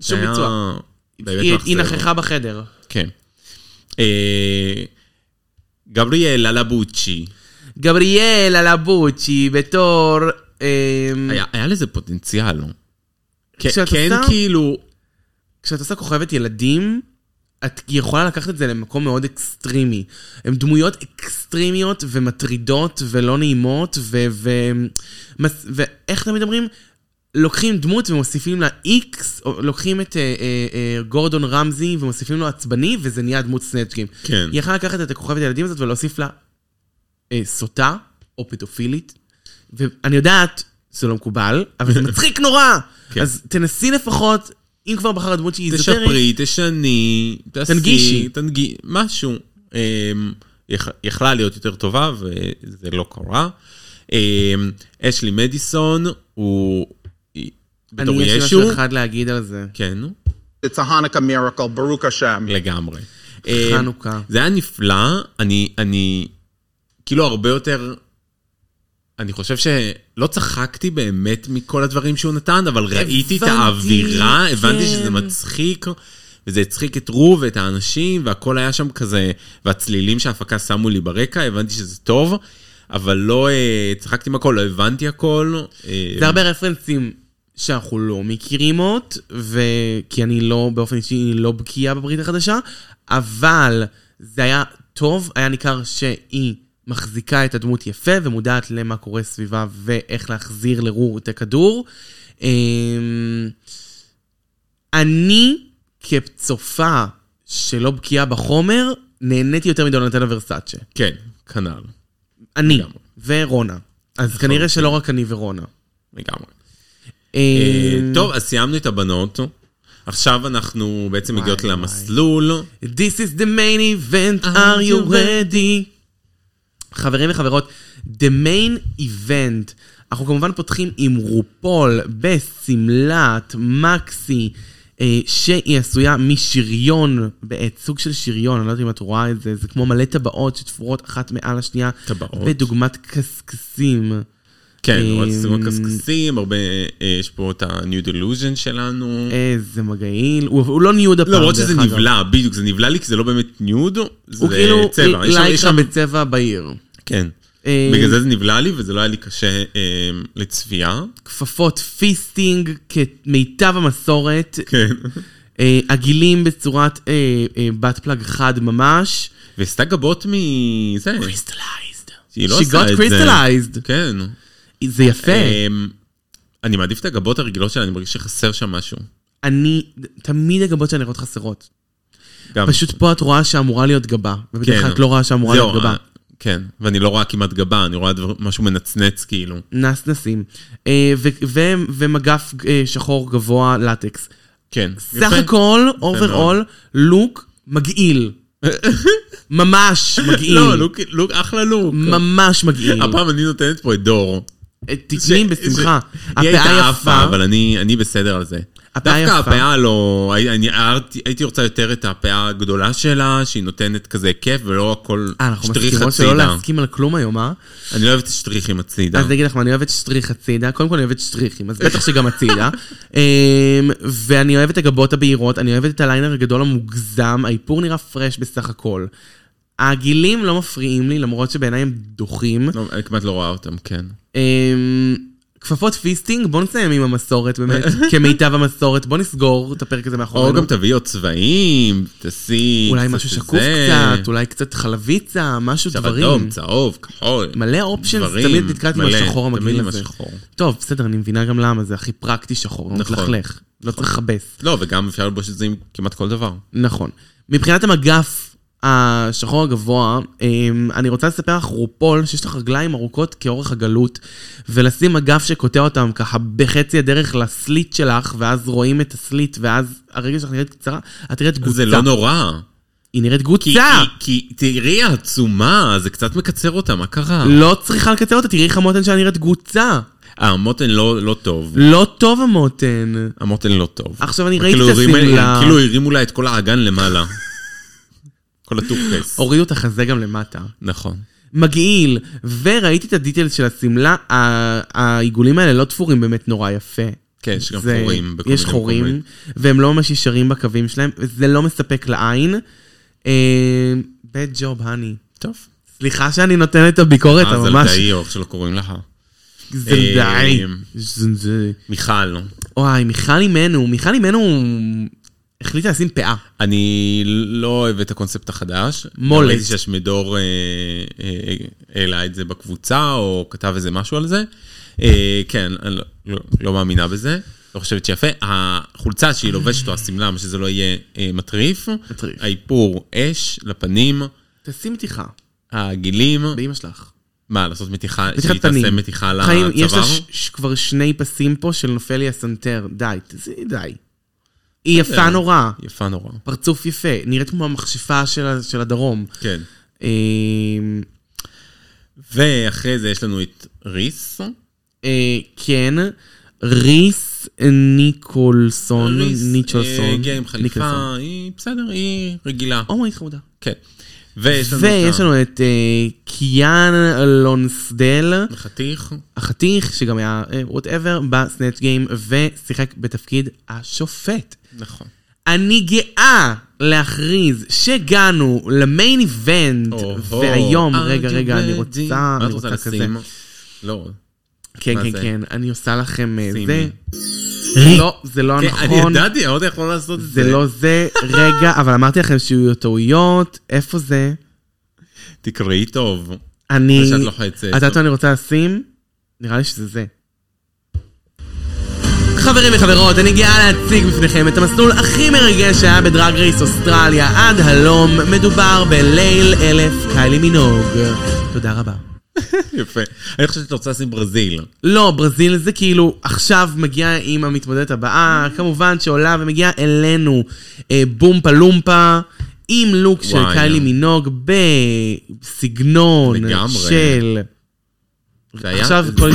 [SPEAKER 2] שום
[SPEAKER 3] היה
[SPEAKER 2] ביצוע.
[SPEAKER 3] באמת
[SPEAKER 2] היא- היא
[SPEAKER 3] מאכזב.
[SPEAKER 2] נכחה בחדר.
[SPEAKER 3] כן. אה, גבריאלה לבוצ'י.
[SPEAKER 2] גבריאלה לבוצ'י בתור... אמ,
[SPEAKER 3] היה, היה לזה פוטנציאל. לא? כן,
[SPEAKER 2] כשאת
[SPEAKER 3] כן
[SPEAKER 2] עושה-
[SPEAKER 3] כאילו,
[SPEAKER 2] כשאת עושה כוכבת ילדים, את יכולה לקחת את זה למקום מאוד אקסטרימי. הן דמויות אקסטרימיות ומטרידות ולא נעימות, ו... ו... מס... ואיך תמיד אומרים? לוקחים דמות ומוסיפים לה איקס, לוקחים את אה, אה, אה, גורדון רמזי ומוסיפים לו עצבני, וזה נהיה דמות סנאצ'קים.
[SPEAKER 3] כן.
[SPEAKER 2] היא יכלה לקחת את הכוכבת הילדים הזאת ולהוסיף לה אה, סוטה או פדופילית, ואני יודעת, זה לא מקובל, אבל זה מצחיק נורא!
[SPEAKER 3] כן.
[SPEAKER 2] אז תנסי לפחות, אם כבר בחרת דמות שהיא איזוטרית,
[SPEAKER 3] תשפרי, תשני, תעשי,
[SPEAKER 2] תנגישי.
[SPEAKER 3] תנגי, משהו. אמ, יכ- יכלה להיות יותר טובה וזה לא קרה. אמ, אשלי מדיסון הוא היא-
[SPEAKER 2] אני
[SPEAKER 3] בתור
[SPEAKER 2] יש לי
[SPEAKER 3] ישו,
[SPEAKER 2] משהו אחד להגיד על זה.
[SPEAKER 3] כן,
[SPEAKER 5] It's a Hanukkah miracle, Baruch Hashem.
[SPEAKER 3] לגמרי.
[SPEAKER 2] חנוכה.
[SPEAKER 3] אמ, זה היה נפלא, אני, אני כאילו הרבה יותר, אני חושב שלא צחקתי באמת מכל הדברים שהוא נתן, אבל ראיתי את
[SPEAKER 2] הבנתי,
[SPEAKER 3] האווירה,
[SPEAKER 2] כן.
[SPEAKER 3] הבנתי שזה מצחיק, וזה הצחיק את רו ואת האנשים, והכל היה שם כזה, והצלילים שההפקה שמו לי ברקע, הבנתי שזה טוב, אבל לא אה, צחקתי עם הכל, לא הבנתי הכל. אה,
[SPEAKER 2] זה הרבה רפרנסים שאנחנו לא מכירים עוד, ו... כי אני לא, באופן אישי, לא בקיאה בברית החדשה, אבל זה היה טוב, היה ניכר שהיא מחזיקה את הדמות יפה ומודעת למה קורה סביבה ואיך להחזיר לרור את הכדור. אמ, אני, כצופה שלא בקיאה בחומר, נהניתי יותר מדונתן הוורסאצ'ה.
[SPEAKER 3] כן, כנ"ל,
[SPEAKER 2] אני
[SPEAKER 3] לגמרי.
[SPEAKER 2] ורונה. אז כנראה שלא רק אני ורונה.
[SPEAKER 3] לגמרי. אה,
[SPEAKER 2] אמ,
[SPEAKER 3] טוב, אז סיימנו את הבנות. עכשיו אנחנו בעצם מגיעות למסלול.
[SPEAKER 2] This is the main event, are you ready? חברים וחברות, the main event, אנחנו כמובן פותחים עם רופול בשמלת מקסי, אה, שהיא עשויה משריון, בעט, סוג של שריון, אני לא יודעת אם את רואה את זה, זה כמו מלא טבעות שתפורות אחת מעל השנייה,
[SPEAKER 3] טבעות?
[SPEAKER 2] ודוגמת קשקשים.
[SPEAKER 3] כן,
[SPEAKER 2] אה,
[SPEAKER 3] רצינו קשקשים, הרבה, אה, יש פה את ה-new delusion שלנו.
[SPEAKER 2] איזה מגעיל, הוא, הוא לא ניוד הפעם,
[SPEAKER 3] למרות שזה
[SPEAKER 2] אה, דרך אגב.
[SPEAKER 3] נבלע, בדיוק, זה נבלע לי כי זה לא באמת ניוד, זה
[SPEAKER 2] הוא כאילו
[SPEAKER 3] צבע. יש שם- יש
[SPEAKER 2] לייקרה
[SPEAKER 3] שם-
[SPEAKER 2] בצבע בהיר.
[SPEAKER 3] כן.
[SPEAKER 2] אה,
[SPEAKER 3] בגלל זה זה נבלע לי וזה לא היה לי קשה אה, לצפייה.
[SPEAKER 2] כפפות פיסטינג כמיטב המסורת,
[SPEAKER 3] כן.
[SPEAKER 2] אה, עגילים בצורת אה, אה, בת פלג חד ממש.
[SPEAKER 3] ועשתה גבות מזה,
[SPEAKER 2] קריסטלייזד.
[SPEAKER 3] שהיא לא
[SPEAKER 2] She
[SPEAKER 3] עשתה
[SPEAKER 2] got
[SPEAKER 3] את זה.
[SPEAKER 2] crystallized.
[SPEAKER 3] כן.
[SPEAKER 2] זה יפה.
[SPEAKER 3] אה, אני מעדיף את הגבות הרגילות שלה, אני מרגיש שחסר שם משהו.
[SPEAKER 2] אני, תמיד הגבות שלה נראות חסרות.
[SPEAKER 3] גם.
[SPEAKER 2] פשוט פה את רואה שאמורה להיות גבה,
[SPEAKER 3] כן,
[SPEAKER 2] ובדרך כלל את לא רואה שאמורה
[SPEAKER 3] זהו,
[SPEAKER 2] להיות גבה.
[SPEAKER 3] אה, כן, ואני לא רואה כמעט גבה, אני רואה דבר, משהו מנצנץ כאילו.
[SPEAKER 2] נסנסים. אה, ו- ו- ומגף אה, שחור גבוה לטקס.
[SPEAKER 3] כן.
[SPEAKER 2] סך הכל,
[SPEAKER 3] מאוד.
[SPEAKER 2] אוברול, לוק מגעיל. ממש מגעיל.
[SPEAKER 3] לא, לוק, לוק, אחלה לוק.
[SPEAKER 2] כאילו. ממש מגעיל.
[SPEAKER 3] הפעם אני נותנת פה את דור.
[SPEAKER 2] תקני
[SPEAKER 3] ש-
[SPEAKER 2] בשמחה.
[SPEAKER 3] ש- היא
[SPEAKER 2] הפאה
[SPEAKER 3] הייתה
[SPEAKER 2] יפה.
[SPEAKER 3] עפה, אבל אני, אני בסדר על זה.
[SPEAKER 2] הפאה
[SPEAKER 3] דווקא
[SPEAKER 2] יפה.
[SPEAKER 3] הפאה לא... הי- אני הערתי- הייתי רוצה יותר את הפאה הגדולה שלה, שהיא נותנת כזה כיף, ולא הכל
[SPEAKER 2] אה, אנחנו
[SPEAKER 3] שטריך
[SPEAKER 2] מסכימות שלא
[SPEAKER 3] הצידה. לא.
[SPEAKER 2] להסכים על כלום היום, אה?
[SPEAKER 3] אני לא אוהב את השטריכים הצידה.
[SPEAKER 2] אז אני אגיד לך מה, אני אוהבת שטריך הצידה. קודם כל אני אוהבת שטריכים, אז בטח שגם הצידה. אמ, ואני אוהבת את הגבות הבהירות, אני אוהבת את הליינר הגדול המוגזם, האיפור נראה פרש בסך הכל. העגילים לא מפריעים לי, למרות שבעיניי הם דוחים.
[SPEAKER 3] לא, אני כמעט לא רואה אותם, כן.
[SPEAKER 2] אמ, כפפות פיסטינג, בוא נסיים עם המסורת באמת, כמיטב המסורת, בוא נסגור את הפרק הזה
[SPEAKER 3] או
[SPEAKER 2] מאחורינו.
[SPEAKER 3] גם תביאי עוד צבעים, תעשי...
[SPEAKER 2] לא- אולי
[SPEAKER 3] קצת
[SPEAKER 2] משהו
[SPEAKER 3] זה.
[SPEAKER 2] שקוף קצת, אולי קצת חלביצה, משהו
[SPEAKER 3] עכשיו
[SPEAKER 2] דברים.
[SPEAKER 3] אדום, צהוב, כחול.
[SPEAKER 2] מלא אופשנס,
[SPEAKER 3] דברים,
[SPEAKER 2] תמיד נתקעתי עם
[SPEAKER 3] מלא,
[SPEAKER 2] השחור
[SPEAKER 3] תמיד
[SPEAKER 2] המגעיל
[SPEAKER 3] עם
[SPEAKER 2] הזה.
[SPEAKER 3] השחור.
[SPEAKER 2] טוב, בסדר, אני מבינה גם למה, זה הכי פרקטי שחור, לא
[SPEAKER 3] נכון.
[SPEAKER 2] מתלכלך, לא צריך לכבס.
[SPEAKER 3] לא, וגם אפשר ללבוש את זה עם כמעט כל דבר.
[SPEAKER 2] נכון. מבחינת המגף השחור הגבוה, אמ, אני רוצה לספר לך רופול, שיש לך רגליים ארוכות כאורך הגלות, ולשים מגף שקוטע אותם ככה בחצי הדרך לסליט שלך, ואז רואים את הסליט, ואז הרגל שלך נראית קצרה, את נראית
[SPEAKER 3] אז
[SPEAKER 2] גוצה.
[SPEAKER 3] זה לא נורא.
[SPEAKER 2] היא נראית
[SPEAKER 3] כי-
[SPEAKER 2] גוצה!
[SPEAKER 3] כי כי תראי העצומה, זה קצת מקצר אותה, מה קרה?
[SPEAKER 2] לא צריכה לקצר אותה, תראי איך המותן שלה נראית גוצה.
[SPEAKER 3] המותן לא לא טוב.
[SPEAKER 2] לא טוב המותן.
[SPEAKER 3] המותן לא טוב.
[SPEAKER 2] עכשיו אני
[SPEAKER 3] הם
[SPEAKER 2] ראיתי
[SPEAKER 3] כאילו
[SPEAKER 2] את
[SPEAKER 3] הרימו-
[SPEAKER 2] השמלה.
[SPEAKER 3] הם כאילו הרימו לה את כל האגן למעלה. כל הטורקס.
[SPEAKER 2] הורידו את החזה גם למטה.
[SPEAKER 3] נכון.
[SPEAKER 2] מגעיל. וראיתי את הדיטל של השמלה, ה- העיגולים האלה לא תפורים באמת נורא יפה.
[SPEAKER 3] כן, יש גם
[SPEAKER 2] זה-
[SPEAKER 3] חורים. בכל
[SPEAKER 2] יש
[SPEAKER 3] מיני
[SPEAKER 2] חורים,
[SPEAKER 3] מקומות.
[SPEAKER 2] והם לא ממש ישרים בקווים שלהם, זה לא מספק לעין. אה, בד ג'וב, האני.
[SPEAKER 3] טוב.
[SPEAKER 2] סליחה שאני נותן את הביקורת,
[SPEAKER 3] אה,
[SPEAKER 2] אבל ממש...
[SPEAKER 3] זלדאי, או איך שלא קוראים לה.
[SPEAKER 2] זלדאי.
[SPEAKER 3] אה,
[SPEAKER 2] זלדאי.
[SPEAKER 3] מיכל. לא?
[SPEAKER 2] וואי, מיכל אימנו, מיכל אימנו החליטה לשים פאה.
[SPEAKER 3] אני לא אוהב את הקונספט החדש.
[SPEAKER 2] מולט.
[SPEAKER 3] ראיתי שהשמדור אה, אה, העלה את זה בקבוצה, או כתב איזה משהו על זה. אה, כן, אני לא- לא- לא מאמינה בזה. לא חושבת שיפה. החולצה שהיא לובשת או השמלה, מה שזה לא יהיה אה, מטריף.
[SPEAKER 2] מטריף.
[SPEAKER 3] האיפור אש לפנים,
[SPEAKER 2] תשים מתיחה,
[SPEAKER 3] הגילים.
[SPEAKER 2] באמא שלך.
[SPEAKER 3] מה, לעשות מתיחה?
[SPEAKER 2] מתיחת
[SPEAKER 3] שהיא תעשה
[SPEAKER 2] פנים.
[SPEAKER 3] מתיחה לצוואר?
[SPEAKER 2] חיים, יש לה ש- ש- כבר שני פסים פה של נופל לי הסנטר, די, זה די. היא יפה
[SPEAKER 3] בסדר.
[SPEAKER 2] נורא,
[SPEAKER 3] יפה נורא.
[SPEAKER 2] פרצוף יפה, נראית כמו המכשפה של ה- של הדרום.
[SPEAKER 3] כן.
[SPEAKER 2] אמ,
[SPEAKER 3] ואחרי זה יש לנו את ריס.
[SPEAKER 2] אה, כן, ריס ניקולסון,
[SPEAKER 3] ריס,
[SPEAKER 2] ניצ'ולסון.
[SPEAKER 3] אה, הגיעה עם
[SPEAKER 2] ניקולסון.
[SPEAKER 3] חליפה, היא בסדר, היא רגילה.
[SPEAKER 2] או מי חמודה.
[SPEAKER 3] כן. ויש לנו את
[SPEAKER 2] אוקיי. ויש
[SPEAKER 3] ה-
[SPEAKER 2] לנו את אה, קיאן לונסדל,
[SPEAKER 3] חתיך.
[SPEAKER 2] החתיך, שגם היה אה, וואטאבר, בסנאצ' גיים, ושיחק בתפקיד השופט.
[SPEAKER 3] נכון.
[SPEAKER 2] אני גאה להכריז שהגענו למיין איבנט,
[SPEAKER 3] אוהו.
[SPEAKER 2] והיום,
[SPEAKER 3] Are
[SPEAKER 2] רגע,
[SPEAKER 3] you
[SPEAKER 2] רגע, אני
[SPEAKER 3] ready?
[SPEAKER 2] רוצה,
[SPEAKER 3] מה את
[SPEAKER 2] אני רוצה כזה.
[SPEAKER 3] לשים? לא.
[SPEAKER 2] כן,
[SPEAKER 3] מה
[SPEAKER 2] כן,
[SPEAKER 3] זה?
[SPEAKER 2] כן, אני עושה לכם אה,
[SPEAKER 3] שימי.
[SPEAKER 2] זה. לא, זה לא
[SPEAKER 3] כן, אני
[SPEAKER 2] הנכון.
[SPEAKER 3] ידעתי, אני עוד יכול לעשות את זה.
[SPEAKER 2] זה לא זה, רגע, אבל אמרתי לכם שיהיו טעויות, איפה זה?
[SPEAKER 3] תקראי
[SPEAKER 2] אה,
[SPEAKER 3] טוב.
[SPEAKER 2] אני...
[SPEAKER 3] זה שאת לא לוחצת.
[SPEAKER 2] את יודעת מה אני רוצה לשים? נראה לי שזה זה. חברים וחברות, אני גאה להציג בפניכם את המסלול הכי מרגש שהיה בדרג רייס אוסטרליה עד הלום. מדובר בליל אלף קיילי מינוג. תודה רבה.
[SPEAKER 3] יפה. אני חושבת שאת רוצה לשים ברזיל.
[SPEAKER 2] לא, ברזיל זה כאילו עכשיו מגיע עם המתמודדת הבאה, כמובן שעולה ומגיעה אלינו אה, בומפה לומפה, עם לוק של
[SPEAKER 3] וואי.
[SPEAKER 2] קיילי מינוג בסגנון
[SPEAKER 3] לגמרי.
[SPEAKER 2] של...
[SPEAKER 3] זה היה-
[SPEAKER 2] עכשיו כל...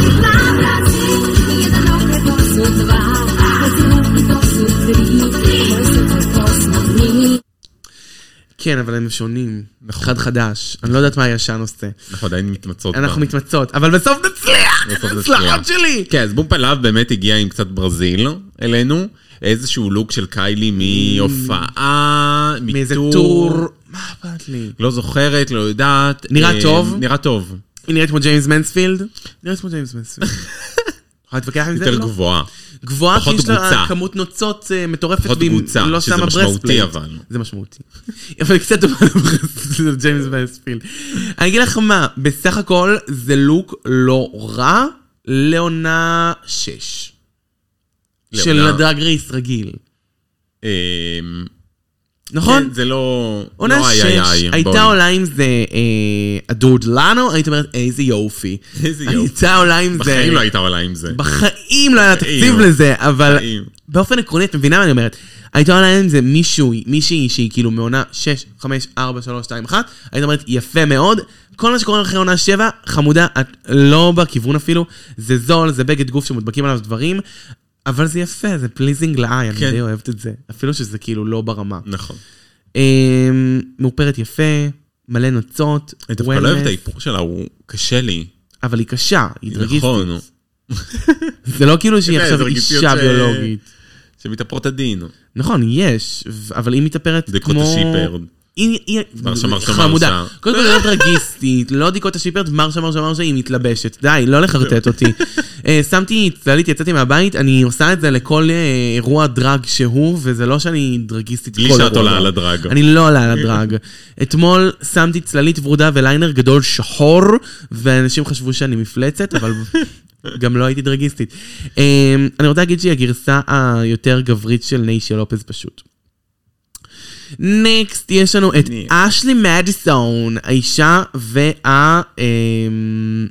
[SPEAKER 2] כן, אבל הם שונים.
[SPEAKER 3] נכון.
[SPEAKER 2] אחד חדש. אני לא יודעת מה הישן עושה.
[SPEAKER 3] אנחנו עדיין נכון, מתמצות.
[SPEAKER 2] אנחנו אה,
[SPEAKER 3] בה.
[SPEAKER 2] מתמצות, אבל בסוף נצליח!
[SPEAKER 3] בסוף נצליח.
[SPEAKER 2] הצלחות שלי!
[SPEAKER 3] כן, אז בום פלאב באמת הגיע עם קצת ברזיל אלינו. איזשהו לוק של קיילי מהופעה,
[SPEAKER 2] מאיזה
[SPEAKER 3] מטור.
[SPEAKER 2] טור... מה אכפת לי?
[SPEAKER 3] לא זוכרת, לא יודעת.
[SPEAKER 2] נראה
[SPEAKER 3] אה,
[SPEAKER 2] טוב.
[SPEAKER 3] נראה טוב.
[SPEAKER 2] היא נראית כמו ג'יימס מנספילד? נראית כמו ג'יימס מנספילד. יכולה להתווכח עם זה?
[SPEAKER 3] יותר
[SPEAKER 2] לא.
[SPEAKER 3] גבוהה.
[SPEAKER 2] גבוהה כי
[SPEAKER 3] פחות
[SPEAKER 2] יש לה
[SPEAKER 3] בוצה.
[SPEAKER 2] כמות נוצות אה, מטורפת,
[SPEAKER 3] פחות
[SPEAKER 2] והיא
[SPEAKER 3] בוצה,
[SPEAKER 2] לא
[SPEAKER 3] שזה
[SPEAKER 2] שמה
[SPEAKER 3] משמעותי,
[SPEAKER 2] ברספלייט.
[SPEAKER 3] אבל.
[SPEAKER 2] זה משמעותי. אבל היא קצת דומה לברספלייט של ג'יימס ונספילד. אני אגיד לך מה, בסך הכל זה לוק לא רע לעונה 6. של
[SPEAKER 3] לעונה-
[SPEAKER 2] הדרג רייס רגיל.
[SPEAKER 3] אה,
[SPEAKER 2] נכון?
[SPEAKER 3] כן, זה לא...
[SPEAKER 2] עונה
[SPEAKER 3] לא איי,
[SPEAKER 2] 6
[SPEAKER 3] איי, איי, בואי.
[SPEAKER 2] הייתה עולה עם זה אה, הדוד לנו, היית אומרת איזה יופי.
[SPEAKER 3] איזה יופי.
[SPEAKER 2] הייתה עולה עם זה...
[SPEAKER 3] בחיים לא הייתה עולה עם זה.
[SPEAKER 2] בחיים לא היה
[SPEAKER 3] בחיים.
[SPEAKER 2] תקציב לזה, אבל
[SPEAKER 3] בחיים.
[SPEAKER 2] באופן עקרוני, את מבינה מה אני אומרת. הייתה עולה עם זה מישהו, מישהי שהיא כאילו מעונה 6, 5, 4, 3, 2, 1, היית אומרת, יפה מאוד. כל מה שקורה אחרי עונה 7, חמודה, את לא בכיוון אפילו, זה זול, זה בגד גוף שמודבקים עליו דברים, אבל זה יפה, זה פליזינג לעין,
[SPEAKER 3] כן.
[SPEAKER 2] אני די אוהבת את זה. אפילו שזה כאילו לא ברמה.
[SPEAKER 3] נכון.
[SPEAKER 2] אמ, מאופרת יפה, מלא נוצות,
[SPEAKER 3] אני דווקא לא
[SPEAKER 2] wellness,
[SPEAKER 3] אוהב את האיפור שלה, הוא קשה לי.
[SPEAKER 2] אבל היא קשה, היא דרגיסטית.
[SPEAKER 3] נכון, הוא-
[SPEAKER 2] זה לא כאילו שהיא
[SPEAKER 3] כן,
[SPEAKER 2] עכשיו
[SPEAKER 3] זה רגיסטיות
[SPEAKER 2] אישה
[SPEAKER 3] ש-
[SPEAKER 2] ביולוגית.
[SPEAKER 3] שמתאפרות הדין.
[SPEAKER 2] נכון, יש, ו- אבל היא מתאפרת
[SPEAKER 3] דקות
[SPEAKER 2] כמו...
[SPEAKER 3] השיפרד.
[SPEAKER 2] היא- היא-
[SPEAKER 3] מרשה, מרשה,
[SPEAKER 2] חמודה.
[SPEAKER 3] מרשה.
[SPEAKER 2] קודם כל היא לא רגיסטית, לא דיקות השיפרד, מרשה מרשה מרשה היא מתלבשת. די, לא לחרטט אותי. אה, שמתי צללית, יצאתי מהבית, אני עושה את זה לכל אה, אירוע דרג שהוא, וזה לא שאני דרגיסטית
[SPEAKER 3] בלי
[SPEAKER 2] כל
[SPEAKER 3] שאת
[SPEAKER 2] אירוע
[SPEAKER 3] עולה
[SPEAKER 2] דרג.
[SPEAKER 3] על הדרג.
[SPEAKER 2] אני לא עולה על הדרג. אתמול שמתי צללית ורודה וליינר גדול שחור, ואנשים חשבו שאני מפלצת, אבל גם לא הייתי דרגיסטית. אמ, אני רוצה להגיד שהיא הגרסה היותר גברית של ניישיה לופז פשוט. נקסט, יש לנו את
[SPEAKER 3] Next.
[SPEAKER 2] אשלי מדיסון, האישה וה... אמ,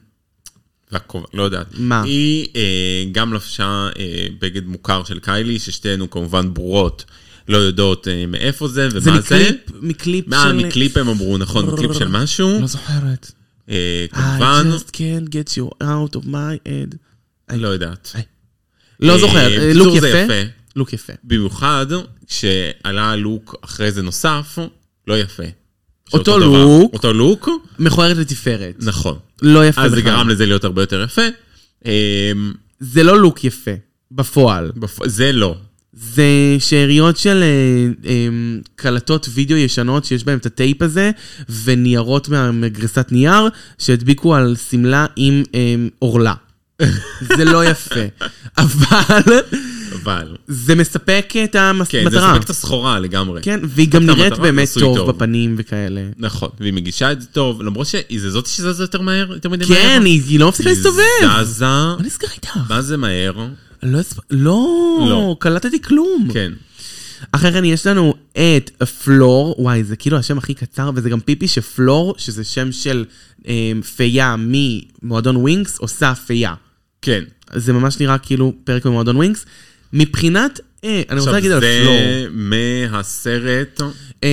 [SPEAKER 3] והכובע, לא יודעת.
[SPEAKER 2] מה?
[SPEAKER 3] היא אה, גם לבשה אה, בגד מוכר של קיילי, ששתינו כמובן ברורות, לא יודעות אה, מאיפה זה ומה
[SPEAKER 2] זה
[SPEAKER 3] זה.
[SPEAKER 2] מקליפ, מקליפ
[SPEAKER 3] מה,
[SPEAKER 2] של...
[SPEAKER 3] מקליפ הם אמרו, נכון, מקליפ של משהו.
[SPEAKER 2] לא זוכרת.
[SPEAKER 3] אה, כמובן,
[SPEAKER 2] I just can't get you out of my head.
[SPEAKER 3] לא יודעת.
[SPEAKER 2] לא
[SPEAKER 3] אה,
[SPEAKER 2] זוכרת, אה,
[SPEAKER 3] בקיצור,
[SPEAKER 2] לוק
[SPEAKER 3] זה
[SPEAKER 2] יפה.
[SPEAKER 3] יפה.
[SPEAKER 2] לוק יפה.
[SPEAKER 3] במיוחד כשעלה לוק אחרי זה נוסף, לא יפה. של
[SPEAKER 2] אותו
[SPEAKER 3] דבר.
[SPEAKER 2] לוק.
[SPEAKER 3] אותו לוק,
[SPEAKER 2] מכוערת לתפארת.
[SPEAKER 3] נכון.
[SPEAKER 2] לא יפה
[SPEAKER 3] אז זה
[SPEAKER 2] בכלל.
[SPEAKER 3] גרם לזה להיות הרבה יותר יפה. אמ,
[SPEAKER 2] זה לא לוק יפה, בפועל.
[SPEAKER 3] בפ- זה לא.
[SPEAKER 2] זה שאריות של אה, אה, קלטות וידאו ישנות שיש בהן את הטייפ הזה, וניירות מה- מגרסת נייר, שהדביקו על אמ, שמלה עם אה, עורלה. זה לא יפה. אבל
[SPEAKER 3] חבל.
[SPEAKER 2] זה מספק את
[SPEAKER 3] כן, זה
[SPEAKER 2] המטרה.
[SPEAKER 3] מספק את הסחורה לגמרי.
[SPEAKER 2] כן, והיא גם
[SPEAKER 3] את
[SPEAKER 2] נראית
[SPEAKER 3] המטרה,
[SPEAKER 2] באמת
[SPEAKER 3] עשוי
[SPEAKER 2] טוב
[SPEAKER 3] טוב.
[SPEAKER 2] בפנים וכאלה.
[SPEAKER 3] נכון, והיא מגישה את זה טוב, למרות שהיא זה זאת שזזה יותר מהר, יותר מדי מהר.
[SPEAKER 2] כן, היא היא לא מפסיקה להסתובב.
[SPEAKER 3] היא זזה,
[SPEAKER 2] מה נסגר איתך?
[SPEAKER 3] מה זה מהר?
[SPEAKER 2] לא, הספ- לא,
[SPEAKER 3] לא.
[SPEAKER 2] קלטתי כלום.
[SPEAKER 3] כן.
[SPEAKER 2] אחרי כן יש לנו את פלור, וואי, זה כאילו השם הכי קצר, וזה גם פיפי שפלור, שזה שם של אה, פייה ממועדון ווינקס, עושה פייה.
[SPEAKER 3] כן.
[SPEAKER 2] זה ממש נראה כאילו פרק ממועדון ווינקס. מבחינת, אה, אני רוצה
[SPEAKER 3] עכשיו
[SPEAKER 2] להגיד על לא. פלור.
[SPEAKER 3] זה מהסרט,
[SPEAKER 2] אה, אה,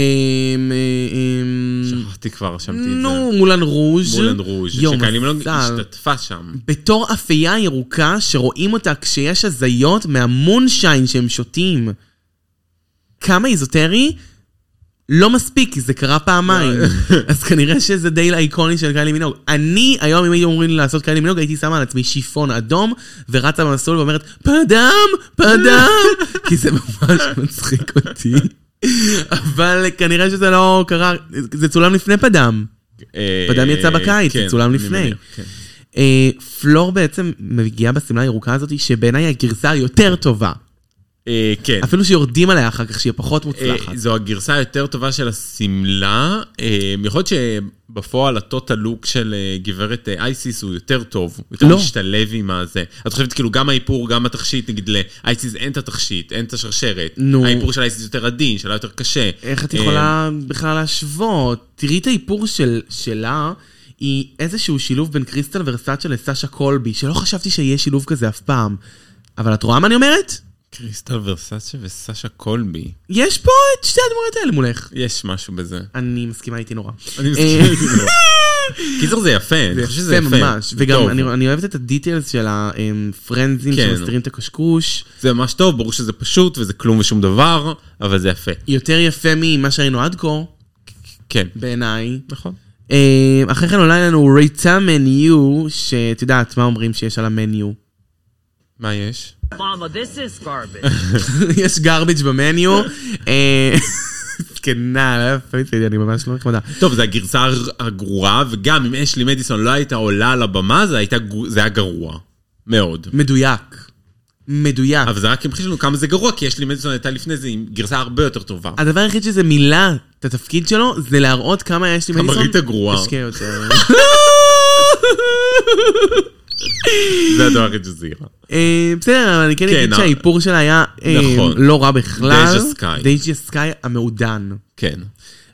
[SPEAKER 2] אה,
[SPEAKER 3] שכחתי כבר, רשמתי את זה.
[SPEAKER 2] נו, מולן רוז'.
[SPEAKER 3] מולן רוז',
[SPEAKER 2] יום
[SPEAKER 3] שקיילים לא
[SPEAKER 2] הזל.
[SPEAKER 3] השתתפה שם.
[SPEAKER 2] בתור אפייה ירוקה שרואים אותה כשיש הזיות מהמונשיין שהם שותים. כמה איזוטרי? לא מספיק, כי זה קרה פעמיים. אז כנראה שזה דייל האיקוני של קיילי מינוג. אני, היום אם היו אומרים לי לעשות קיילי מינוג, הייתי שמה על עצמי שיפון אדום, ורצה במסלול ואומרת, פדם, פדם, כי זה ממש מצחיק אותי. אבל כנראה שזה לא קרה, זה צולם לפני פדם.
[SPEAKER 3] אה,
[SPEAKER 2] פדם יצא בקיץ,
[SPEAKER 3] כן,
[SPEAKER 2] זה צולם
[SPEAKER 3] אני
[SPEAKER 2] לפני.
[SPEAKER 3] מניח, כן.
[SPEAKER 2] אה, פלור בעצם מגיעה בשמלה הירוקה הזאת, שבעיניי היא הגרסה היותר טובה.
[SPEAKER 3] אה, כן.
[SPEAKER 2] אפילו שיורדים עליה אחר כך, שהיא פחות מוצלחת.
[SPEAKER 3] אה, זו הגרסה היותר טובה של השמלה. אה, יכול להיות שבפועל הטוטל לוק של אה, גברת אה, אייסיס הוא יותר טוב, הוא יותר
[SPEAKER 2] לא.
[SPEAKER 3] משתלב עם הזה. את חושבת כאילו גם האיפור, גם התכשיט, נגיד לאייסיס אין את התכשיט, אין את השרשרת.
[SPEAKER 2] נו.
[SPEAKER 3] האיפור של אייסיס יותר עדין, שלה יותר קשה.
[SPEAKER 2] איך את
[SPEAKER 3] אה,
[SPEAKER 2] יכולה בכלל להשוות? תראי את האיפור של, שלה, היא איזשהו שילוב בין קריסטל ורסאצ'ה לסשה קולבי, שלא חשבתי שיהיה שילוב כזה אף פעם. אבל את רואה מה אני אומרת?
[SPEAKER 3] קריסטל ורסאצ'ה וסשה קולבי.
[SPEAKER 2] יש פה את שתי הדמויות האלה מולך.
[SPEAKER 3] יש משהו בזה.
[SPEAKER 2] אני מסכימה איתי נורא.
[SPEAKER 3] אני
[SPEAKER 2] אה,
[SPEAKER 3] מסכים. קיצר זה יפה, אני חושב שזה
[SPEAKER 2] זה
[SPEAKER 3] יפה.
[SPEAKER 2] יפה ממש,
[SPEAKER 3] זה
[SPEAKER 2] וגם
[SPEAKER 3] טוב.
[SPEAKER 2] אני, אני אוהבת את הדיטיילס של הפרנזים
[SPEAKER 3] כן.
[SPEAKER 2] שמסתירים את הקשקוש.
[SPEAKER 3] זה ממש טוב, ברור שזה פשוט וזה כלום ושום דבר, אבל זה יפה.
[SPEAKER 2] יותר יפה ממה שראינו עד כה,
[SPEAKER 3] כן.
[SPEAKER 2] בעיניי.
[SPEAKER 3] נכון.
[SPEAKER 2] אה, אחרי כן עולה לנו ריטה מניו, שאת יודעת מה אומרים שיש על המניו.
[SPEAKER 3] מה יש?
[SPEAKER 6] Mama, this is garbage.
[SPEAKER 2] יש garbage במניו. אה, זקנה, לא יפה שלי, אני ממש לא נחמדה.
[SPEAKER 3] טוב, זו הגרסה הר- הגרועה, וגם אם אשלי מדיסון לא הייתה עולה על הבמה, זה, הייתה, גו- זה היה גרוע. מאוד.
[SPEAKER 2] מדויק. מדויק.
[SPEAKER 3] אבל זה רק המחיש לנו כמה זה גרוע, כי אשלי מדיסון הייתה לפני זה עם גרסה הרבה יותר טובה.
[SPEAKER 2] הדבר היחיד שזה מילא את התפקיד שלו, זה להראות כמה יש לי מדיסון.
[SPEAKER 3] המראית הגרועה.
[SPEAKER 2] השקיע יותר.
[SPEAKER 3] זה הדבר היחיד שזה יראה.
[SPEAKER 2] אה, בסדר, אבל אני כן
[SPEAKER 3] כן,
[SPEAKER 2] אגיד
[SPEAKER 3] אה,
[SPEAKER 2] שהאיפור שלה היה אה,
[SPEAKER 3] נכון.
[SPEAKER 2] לא רע בכלל.
[SPEAKER 3] דייג'ה סקאי.
[SPEAKER 2] דייג'ה סקאי המעודן.
[SPEAKER 3] כן.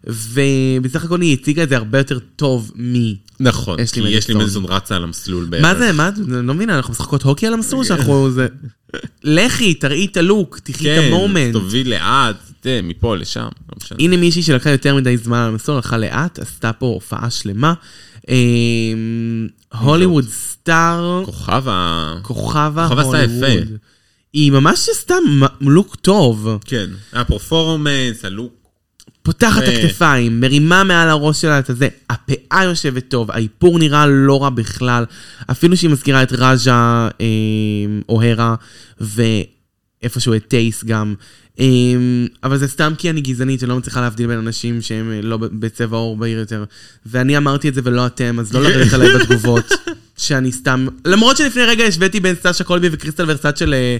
[SPEAKER 2] ובסך הכל היא הציגה את זה הרבה יותר טוב מ...
[SPEAKER 3] נכון,
[SPEAKER 2] אשלי
[SPEAKER 3] כי אשלי
[SPEAKER 2] מדיסון
[SPEAKER 3] מדיסון רצה על המסלול בערך.
[SPEAKER 2] מה זה, מה, אני לא מבינה, אנחנו משחקות הוקי על
[SPEAKER 3] אה.
[SPEAKER 2] המסלול שאנחנו... זה- לכי, תראי את הלוק, תחי את
[SPEAKER 3] כן,
[SPEAKER 2] המומנט.
[SPEAKER 3] תוביל לאט, תה, מפה לשם. לא משנה.
[SPEAKER 2] הנה מישהי שלקחה יותר מדי זמן על המסלול, הלכה לאט, עשתה פה הופעה שלמה. אה, הוליווד סטאר,
[SPEAKER 3] כוכב ה...
[SPEAKER 2] כוכבה
[SPEAKER 3] כוכב עשתה יפה.
[SPEAKER 2] הוליווד. היא ממש עשתה מ- לוק טוב.
[SPEAKER 3] כן. הפרפורמנס, הלוק.
[SPEAKER 2] פותחת את
[SPEAKER 3] יפה.
[SPEAKER 2] הכתפיים, מרימה מעל הראש שלה את הזה, הפאה יושבת טוב, האיפור נראה לא רע בכלל, אפילו שהיא מזכירה את רג'ה אה, אוהרה, ואיפשהו את טייס גם. אה, אבל זה סתם כי אני גזענית, אני לא מצליחה להבדיל בין אנשים שהם אה, לא ב- בצבע עור בהיר יותר. ואני אמרתי את זה ולא אתם, אז לא לרדת עליי בתגובות. שאני סתם, למרות שלפני רגע השוויתי בין סשה קולבי וקריסטל ורסאט של אה,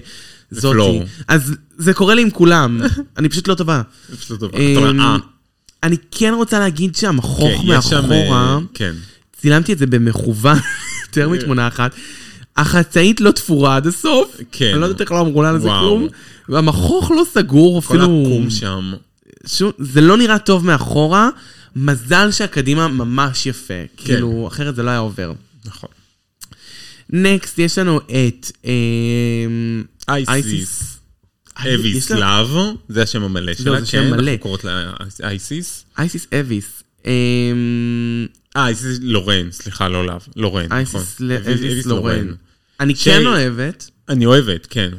[SPEAKER 2] זאתי.
[SPEAKER 3] ופלור.
[SPEAKER 2] אז זה קורה לי עם כולם, אני פשוט לא טובה.
[SPEAKER 3] זה פשוט טוב.
[SPEAKER 2] אמ,
[SPEAKER 3] אתה אומר, אה,
[SPEAKER 2] אני כן רוצה להגיד שהמכוך
[SPEAKER 3] כן, יש שם,
[SPEAKER 2] מאחורה,
[SPEAKER 3] אה, כן.
[SPEAKER 2] צילמתי את זה במכוון, יותר מתמונה אחת. החצאית לא תפורה עד הסוף,
[SPEAKER 3] כן.
[SPEAKER 2] אני לא יודעת איך לא אמרו לה על זה
[SPEAKER 3] וואו.
[SPEAKER 2] כלום, והמכוך לא סגור,
[SPEAKER 3] כל
[SPEAKER 2] אפילו...
[SPEAKER 3] הקום שם.
[SPEAKER 2] שום- זה לא נראה טוב מאחורה, מזל שהקדימה ממש יפה, כאילו, אחרת זה לא היה עובר.
[SPEAKER 3] כן. נכון.
[SPEAKER 2] נקסט, יש לנו את... אמ,
[SPEAKER 3] אייסיס. אבי
[SPEAKER 2] יש לה- לא,
[SPEAKER 3] סלאב, זה השם המלא שלה,
[SPEAKER 2] זה שם
[SPEAKER 3] כן,
[SPEAKER 2] מלא.
[SPEAKER 3] אנחנו קוראות לה אייסיס.
[SPEAKER 2] אייסיס אביס. אמ,
[SPEAKER 3] אה, אייסיס לורן, סליחה, לא לאב, לורן, נכון.
[SPEAKER 2] אייסיס ל-
[SPEAKER 3] אביס-
[SPEAKER 2] אביס
[SPEAKER 3] אביס
[SPEAKER 2] לורן. אני
[SPEAKER 3] ש-
[SPEAKER 2] כן אוהבת.
[SPEAKER 3] אני אוהבת, כן.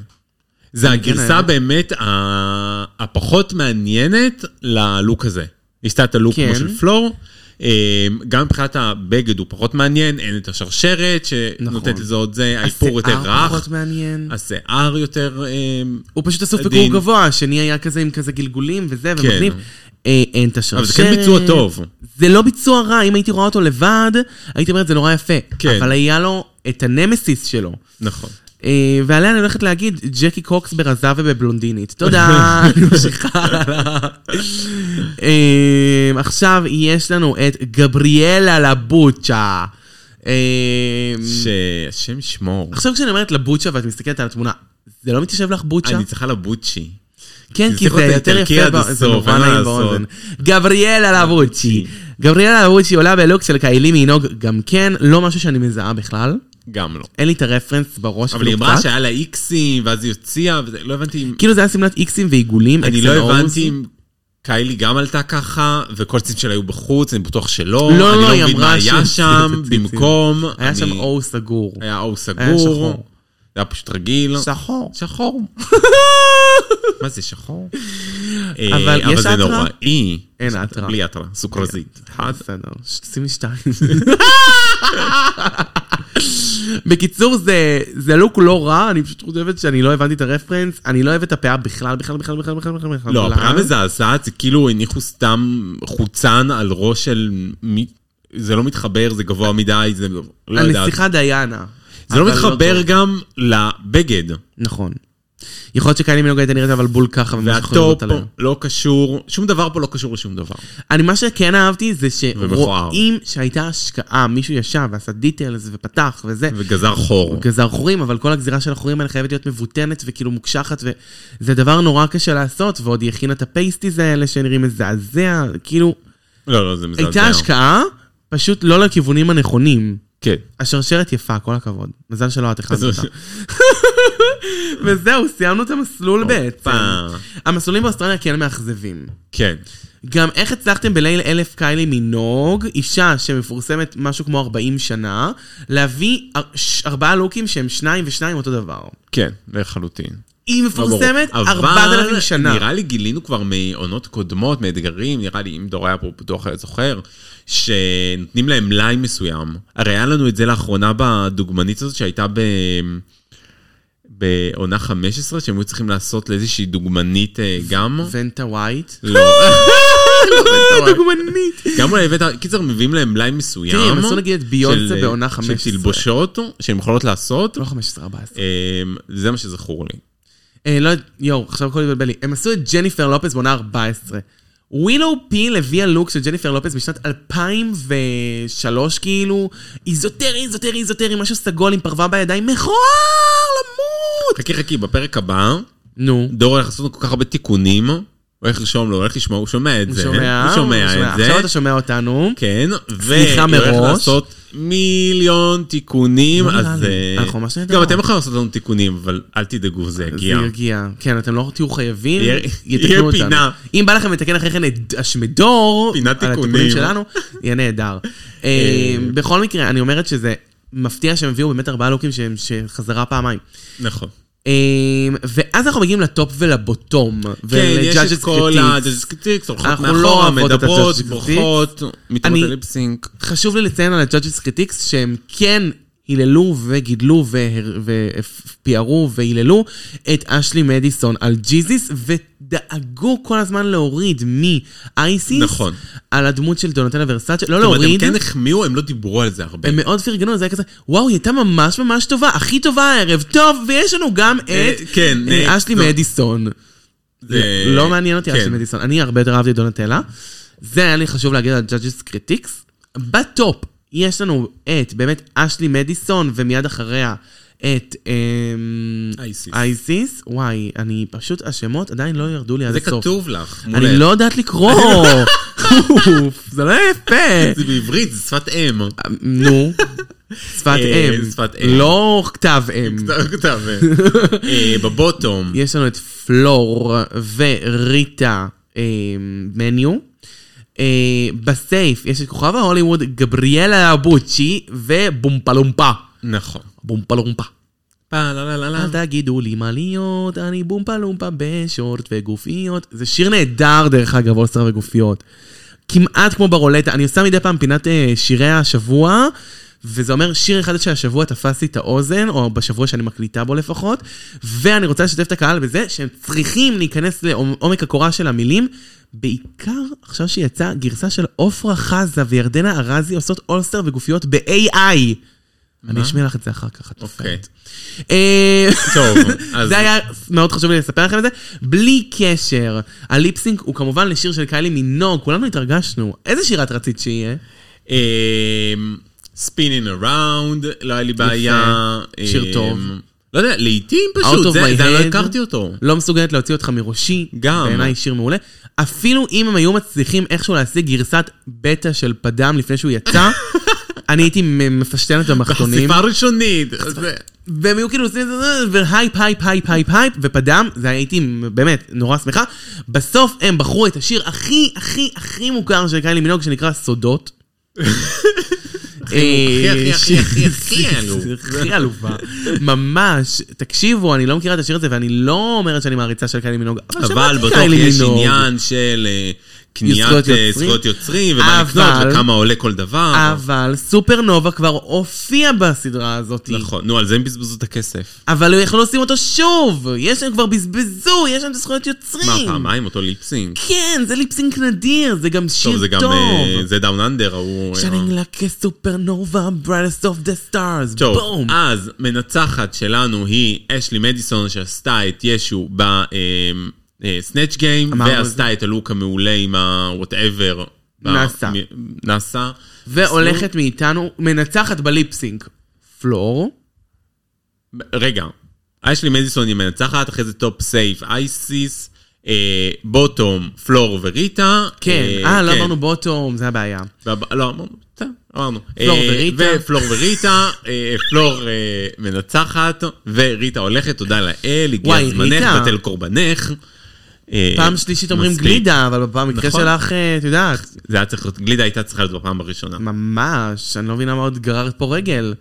[SPEAKER 3] זה הגרסה
[SPEAKER 2] כן אוהבת.
[SPEAKER 3] באמת ה- הפחות מעניינת ללוק הזה. ניסתה את הלוק
[SPEAKER 2] כן.
[SPEAKER 3] כמו של פלור. אה, גם מבחינת הבגד הוא פחות מעניין, אין את השרשרת שנותנת
[SPEAKER 2] נכון.
[SPEAKER 3] לזה עוד זה, האיפור יותר
[SPEAKER 2] השיער פחות
[SPEAKER 3] רך,
[SPEAKER 2] מעניין.
[SPEAKER 3] השיער יותר... אה,
[SPEAKER 2] הוא פשוט עשוף
[SPEAKER 3] עדין.
[SPEAKER 2] בגור גבוה, השני היה כזה עם כזה גלגולים וזה,
[SPEAKER 3] כן.
[SPEAKER 2] ומגניב. אה, אין את השרשרת.
[SPEAKER 3] אבל זה כן ביצוע טוב.
[SPEAKER 2] זה לא ביצוע רע, אם הייתי רואה אותו לבד, הייתי אומרת זה נורא יפה.
[SPEAKER 3] כן.
[SPEAKER 2] אבל היה לו את הנמסיס שלו.
[SPEAKER 3] נכון.
[SPEAKER 2] אה, ועליה אני הולכת להגיד, ג'קי קוקס ברזה ובבלונדינית. תודה, אני ממשיכה הלאה. אה, עכשיו יש לנו את גבריאלה לבוצ'ה. אה,
[SPEAKER 3] שהשם שמור.
[SPEAKER 2] עכשיו כשאני אומרת לבוצ'ה ואת מסתכלת על התמונה, זה לא מתיישב לך בוצ'ה?
[SPEAKER 3] אני צריכה לבוצ'י.
[SPEAKER 2] כן, כי
[SPEAKER 3] צריך
[SPEAKER 2] זה
[SPEAKER 3] להיות
[SPEAKER 2] יותר
[SPEAKER 3] איטלקי
[SPEAKER 2] יפה,
[SPEAKER 3] עד
[SPEAKER 2] ב- זה
[SPEAKER 3] הסוף,
[SPEAKER 2] נורא
[SPEAKER 3] אין מה
[SPEAKER 2] נעים
[SPEAKER 3] לעשות.
[SPEAKER 2] באוזן. גבריאלה לבוצ'י. גבריאלה לבוצ'י עולה בלוק של קיילי מינוג, גם כן, לא משהו שאני מזהה בכלל.
[SPEAKER 3] גם לא.
[SPEAKER 2] אין לי את הרפרנס בראש
[SPEAKER 3] אבל
[SPEAKER 2] אפילו
[SPEAKER 3] היא אמרה
[SPEAKER 2] קצת.
[SPEAKER 3] שהיה לה איקסים, ואז היא הוציאה, וזה- לא הבנתי אם...
[SPEAKER 2] כאילו זה היה שמלת איקסים ועיגולים,
[SPEAKER 3] אני
[SPEAKER 2] X
[SPEAKER 3] לא
[SPEAKER 2] and O's.
[SPEAKER 3] הבנתי אם קיילי גם עלתה ככה, וכל ציצים שלה היו בחוץ, אני בטוח שלא.
[SPEAKER 2] לא, לא,
[SPEAKER 3] אני
[SPEAKER 2] לא, היא
[SPEAKER 3] מבין מה
[SPEAKER 2] אמרה
[SPEAKER 3] היה
[SPEAKER 2] ש-
[SPEAKER 3] שם,
[SPEAKER 2] ציצים.
[SPEAKER 3] במקום.
[SPEAKER 2] היה
[SPEAKER 3] אני-
[SPEAKER 2] שם או סגור.
[SPEAKER 3] היה או סגור.
[SPEAKER 2] היה שחור.
[SPEAKER 3] זה היה פשוט רגיל.
[SPEAKER 2] שחור.
[SPEAKER 3] שחור. מה זה שחור? אה,
[SPEAKER 2] אבל יש
[SPEAKER 3] זה
[SPEAKER 2] אטרה?
[SPEAKER 3] נוראי.
[SPEAKER 2] אין אוקיי. אטרה.
[SPEAKER 3] בלי אטרה, סוכרזית. אחת.
[SPEAKER 2] בסדר, ש- שימי שתיים. בקיצור, זה, זה לוק לא רע, אני פשוט חושבת שאני לא הבנתי את הרפרנס, אני לא אוהבת את הפאה בכלל, בכלל, בכלל, בכלל, בכלל, בכלל, בכלל.
[SPEAKER 3] לא, הפרה מזעזעת, זה כאילו הניחו סתם חוצן על ראש של... מי- זה לא מתחבר, זה גבוה מדי, זה לא יודעת.
[SPEAKER 2] הנסיכה דיאנה.
[SPEAKER 3] זה לא
[SPEAKER 2] אבל
[SPEAKER 3] מתחבר
[SPEAKER 2] טוב.
[SPEAKER 3] גם לבגד.
[SPEAKER 2] נכון. יכול להיות שקיילי מנוגה הייתה נראית אבל בול ככה, ומשחררות
[SPEAKER 3] והטופ
[SPEAKER 2] עליה.
[SPEAKER 3] לא קשור, שום דבר פה לא קשור לשום דבר.
[SPEAKER 2] אני, מה שכן אהבתי זה
[SPEAKER 3] ומכוער.
[SPEAKER 2] שרואים שהייתה השקעה, מישהו ישב ועשה דיטלס ופתח וזה.
[SPEAKER 3] וגזר חור.
[SPEAKER 2] גזר חורים, אבל כל הגזירה של החורים האלה חייבת להיות מבוטנת וכאילו מוקשחת, וזה דבר נורא קשה לעשות, ועוד היא הכינה את הפייסטיז האלה שנראים מזעזע, כאילו,
[SPEAKER 3] לא, לא, זה מזעזע.
[SPEAKER 2] הייתה השקעה, פשוט לא לכיוונים הנכונים.
[SPEAKER 3] כן.
[SPEAKER 2] השרשרת יפה, כל הכבוד. מזל שלא את הכנת
[SPEAKER 3] אז-
[SPEAKER 2] אותה. וזהו, סיימנו את המסלול בעצם. המסלולים באוסטרליה כן מאכזבים.
[SPEAKER 3] כן.
[SPEAKER 2] גם איך הצלחתם בליל אלף קיילי מנוג, אישה שמפורסמת משהו כמו 40 שנה, להביא אר- ש- ארבעה לוקים שהם שניים ושניים אותו דבר.
[SPEAKER 3] כן, לחלוטין.
[SPEAKER 2] היא מפורסמת 4,000 שנה.
[SPEAKER 3] אבל לא נראה לי גילינו כבר מעונות קודמות, מאתגרים, נראה לי, אם דור היה פה בטוח היה זוכר, שנותנים להם מלאי מסוים. הרי היה לנו את זה לאחרונה בדוגמנית הזאת שהייתה ב... בעונה 15, שהם היו צריכים לעשות לאיזושהי דוגמנית אה, גם.
[SPEAKER 2] ונטה ווייט. לא,
[SPEAKER 3] לא.
[SPEAKER 2] דוגמנית.
[SPEAKER 3] גם אולי הבאת, קיצר, מביאים להם מלאי מסוים.
[SPEAKER 2] תראי, כן, הם עשו נגיד את ביונסה
[SPEAKER 3] של-
[SPEAKER 2] בעונה 15.
[SPEAKER 3] של תלבושות, שהן יכולות לעשות.
[SPEAKER 2] לא 15, 14.
[SPEAKER 3] אמ, זה מה שזכור לי.
[SPEAKER 2] אה, לא, יואו, עכשיו הכל התבלבל לי. הם עשו את ג'ניפר לופס בעונה 14. ווילו פיל הביאה לוק של ג'ניפר לופס משנת 2003, כאילו, איזוטרי, איזוטרי, איזוטרי, משהו סגול עם פרווה בידיים, מכוער, למות!
[SPEAKER 3] חכי חכי, בפרק הבא,
[SPEAKER 2] נו.
[SPEAKER 3] דור הולך לעשות לנו כל כך הרבה תיקונים. הוא הולך לרשום לו, הוא הולך לשמוע, הוא שומע את
[SPEAKER 2] הוא
[SPEAKER 3] זה.
[SPEAKER 2] שומע,
[SPEAKER 3] הוא שומע את זה.
[SPEAKER 2] עכשיו אתה שומע אותנו.
[SPEAKER 3] כן,
[SPEAKER 2] סליחה
[SPEAKER 3] והוא הולך
[SPEAKER 2] מראש.
[SPEAKER 3] לעשות מיליון תיקונים,
[SPEAKER 2] לא נראה
[SPEAKER 3] אז...
[SPEAKER 2] לי.
[SPEAKER 3] אה,
[SPEAKER 2] אנחנו ממש נהדר.
[SPEAKER 3] גם אתם יכולים לעשות לנו תיקונים, אבל אל תדאגו, זה יגיע.
[SPEAKER 2] זה יגיע. כן, אתם לא תהיו חייבים,
[SPEAKER 3] יהיה-
[SPEAKER 2] יתקנו
[SPEAKER 3] יהיה
[SPEAKER 2] אותנו.
[SPEAKER 3] פינה.
[SPEAKER 2] אם בא לכם לתקן אחרי כן את השמדור,
[SPEAKER 3] פינת
[SPEAKER 2] על
[SPEAKER 3] תיקונים.
[SPEAKER 2] התיקונים שלנו, יהיה נהדר. אה, בכל מקרה, אני אומרת שזה מפתיע שהם הביאו באמת ארבעה לוקים שהם- שחזרה פעמיים.
[SPEAKER 3] נכון.
[SPEAKER 2] אה, ואז אנחנו מגיעים לטופ ולבוטום.
[SPEAKER 3] כן, יש
[SPEAKER 2] ול-judges
[SPEAKER 3] את כל
[SPEAKER 2] critiques.
[SPEAKER 3] הג'אג'ס קריטיקס, הולכות
[SPEAKER 2] אנחנו לא
[SPEAKER 3] מאחורה,
[SPEAKER 2] אוהבות את
[SPEAKER 3] מדברות,
[SPEAKER 2] ה-judges
[SPEAKER 3] בורחות,
[SPEAKER 2] אני-
[SPEAKER 3] מתאמות הליפסינק.
[SPEAKER 2] חשוב לי לציין על ה-judges critics שהם כן היללו וגידלו והר- ופיארו והיללו את אשלי מדיסון על ג'יזיס, ודאגו כל הזמן להוריד מאייסיס,
[SPEAKER 3] נכון.
[SPEAKER 2] על הדמות של דונטלה ורסאצ'ה, לא
[SPEAKER 3] זאת אומרת,
[SPEAKER 2] להוריד.
[SPEAKER 3] הם כן החמיאו, הם לא דיברו על זה הרבה.
[SPEAKER 2] הם מאוד פרגנו, זה היה כזה, וואו, היא הייתה ממש ממש טובה, הכי טובה הערב, טוב, ויש לנו גם
[SPEAKER 3] אה,
[SPEAKER 2] את
[SPEAKER 3] כן,
[SPEAKER 2] אה,
[SPEAKER 3] אה,
[SPEAKER 2] אשלי
[SPEAKER 3] טוב.
[SPEAKER 2] מדיסון.
[SPEAKER 3] זה-
[SPEAKER 2] לא מעניין אותי אשלי
[SPEAKER 3] כן.
[SPEAKER 2] מדיסון, אני הרבה יותר אהבתי את דונטלה. זה היה לי חשוב להגיד על Judges Critics. בטופ יש לנו את באמת אשלי מדיסון, ומיד אחריה את אמ,
[SPEAKER 3] אייסיס.
[SPEAKER 2] אייסיס. וואי, אני פשוט, השמות עדיין לא ירדו לי עד
[SPEAKER 3] זה
[SPEAKER 2] הסוף.
[SPEAKER 3] כתוב לך. מול
[SPEAKER 2] אני
[SPEAKER 3] ה-
[SPEAKER 2] לא יודעת לקרוא. אוף, זה לא יפה.
[SPEAKER 3] זה בעברית, זה שפת אם.
[SPEAKER 2] נו, שפת
[SPEAKER 3] אה,
[SPEAKER 2] אם.
[SPEAKER 3] שפת אם.
[SPEAKER 2] לא כתב אם.
[SPEAKER 3] אתה- אתה- אה, בבוטום.
[SPEAKER 2] יש לנו את פלור וריטה אה, מניו. אה, בסייף יש את כוכב ההוליווד, גבריאלה בוצ'י ובומפלומפה.
[SPEAKER 3] נכון.
[SPEAKER 2] בומפלומפה.
[SPEAKER 3] אה, לא, לא, לא, לא.
[SPEAKER 2] אל תגידו לי מה להיות, אני בומפלומפה בשורט וגופיות. זה שיר נהדר דרך אגב, אולסטר וגופיות. כמעט כמו ברולטה, אני עושה מדי פעם פינת אה, שירי השבוע, וזה אומר שיר אחד שהשבוע תפס לי את האוזן, או בשבוע שאני מקליטה בו לפחות, ואני רוצה לשתף את הקהל בזה שהם צריכים להיכנס לעומק הקורה של המילים, בעיקר עכשיו שיצאה גרסה של עופרה חזה וירדנה ארזי עושות אולסטר וגופיות ב-AI. אני אשמיע לך את זה אחר כך, את
[SPEAKER 3] אוקיי.
[SPEAKER 2] תופעת. אה,
[SPEAKER 3] טוב, אז-
[SPEAKER 2] זה היה מאוד חשוב לי לספר לכם את זה. בלי קשר, הליפסינק הוא כמובן לשיר של קיילי מינוג, כולנו התרגשנו. איזה שיר את רצית שיהיה?
[SPEAKER 3] ספינינג אראונד, לא היה לי בעיה.
[SPEAKER 2] שיר
[SPEAKER 3] אמ,
[SPEAKER 2] טוב.
[SPEAKER 3] לא יודע, לעיתים
[SPEAKER 2] Out of
[SPEAKER 3] פשוט, זה
[SPEAKER 2] my
[SPEAKER 3] זה לא
[SPEAKER 2] head.
[SPEAKER 3] הכרתי אותו.
[SPEAKER 2] לא מסוגלת להוציא אותך מראשי.
[SPEAKER 3] גם.
[SPEAKER 2] בעיניי שיר מעולה. אפילו אם הם היו מצליחים איכשהו להשיג גרסת בטא של פדם לפני שהוא יצא, אני הייתי מ- מפשטן את המחתונים.
[SPEAKER 3] חשיפה ראשונית. זה-
[SPEAKER 2] והם היו כאילו עושים את זה, והייפ, הייפ, הייפ, הייפ, הייפ, ופדם, זה הייתי באמת נורא שמחה. בסוף הם בחרו את השיר הכי, הכי, הכי מוכר של קיילי מינוג, שנקרא סודות. הכי,
[SPEAKER 3] הכי, הכי, הכי, הכי עלוב.
[SPEAKER 2] הכי עלובה. ממש. תקשיבו, אני לא מכירה את השיר הזה, ואני לא אומרת שאני מעריצה של קיילי מינוג, אבל
[SPEAKER 3] אבל
[SPEAKER 2] שמעתי
[SPEAKER 3] בטוח
[SPEAKER 2] קיילי
[SPEAKER 3] יש
[SPEAKER 2] מינוג.
[SPEAKER 3] עניין של אה,
[SPEAKER 2] זכויות
[SPEAKER 3] קניית אה,
[SPEAKER 2] יוצרים.
[SPEAKER 3] זכויות יוצרים, ומה
[SPEAKER 2] אבל-
[SPEAKER 3] לקנות, וכמה עולה כל דבר.
[SPEAKER 2] אבל סופרנובה כבר הופיע בסדרה הזאת.
[SPEAKER 3] נכון, נו, על זה הם בזבזו את הכסף.
[SPEAKER 2] אבל הם יכלו לשים אותו שוב! יש להם כבר בזבזו, יש להם את הזכויות יוצרים!
[SPEAKER 3] מה, פעמיים אותו ליפסינג?
[SPEAKER 2] כן, זה ליפסינק נדיר, זה גם שיר
[SPEAKER 3] טוב,
[SPEAKER 2] טוב.
[SPEAKER 3] זה גם, אה, זה דאון אנדר, ההוא... אה,
[SPEAKER 2] שיינינג לה כסופרנובה, brightest of the stars,
[SPEAKER 3] טוב, אה,
[SPEAKER 2] בום.
[SPEAKER 3] אז מנצחת שלנו היא אשלי מדיסון שעשתה את ישו אה, בסנאצ' גיים,
[SPEAKER 2] אמרנו את
[SPEAKER 3] ועשתה את הלוק המעולה עם ה-whatever.
[SPEAKER 2] נאסא.
[SPEAKER 3] נאסא.
[SPEAKER 2] והולכת מאיתנו, מנצחת בליפסינק. פלור,
[SPEAKER 3] רגע, אשלי מדיסון היא מנצחת, אחרי זה טופ סייף אייסיס, אה, בוטום, פלור וריטה.
[SPEAKER 2] כן. אה, לא אמרנו בוטום, זה הבעיה.
[SPEAKER 3] בב- לא, אמרנו, בסדר, אמרנו.
[SPEAKER 2] פלור
[SPEAKER 3] אה,
[SPEAKER 2] וריטה.
[SPEAKER 3] ופלור וריטה, אה, פלור אה, מנצחת, וריטה הולכת, תודה לאל,
[SPEAKER 2] וואי,
[SPEAKER 3] הגיע זמנך,
[SPEAKER 2] ריטה.
[SPEAKER 3] בטל קורבנך. אה,
[SPEAKER 2] פעם שלישית אומרים
[SPEAKER 3] מספיק.
[SPEAKER 2] גלידה, אבל במקרה
[SPEAKER 3] נכון.
[SPEAKER 2] שלך, אה, את יודעת,
[SPEAKER 3] זה היה צריך להיות, גלידה הייתה צריכה להיות בפעם הראשונה.
[SPEAKER 2] ממש, אני לא מבינה מה עוד גררת פה רגל.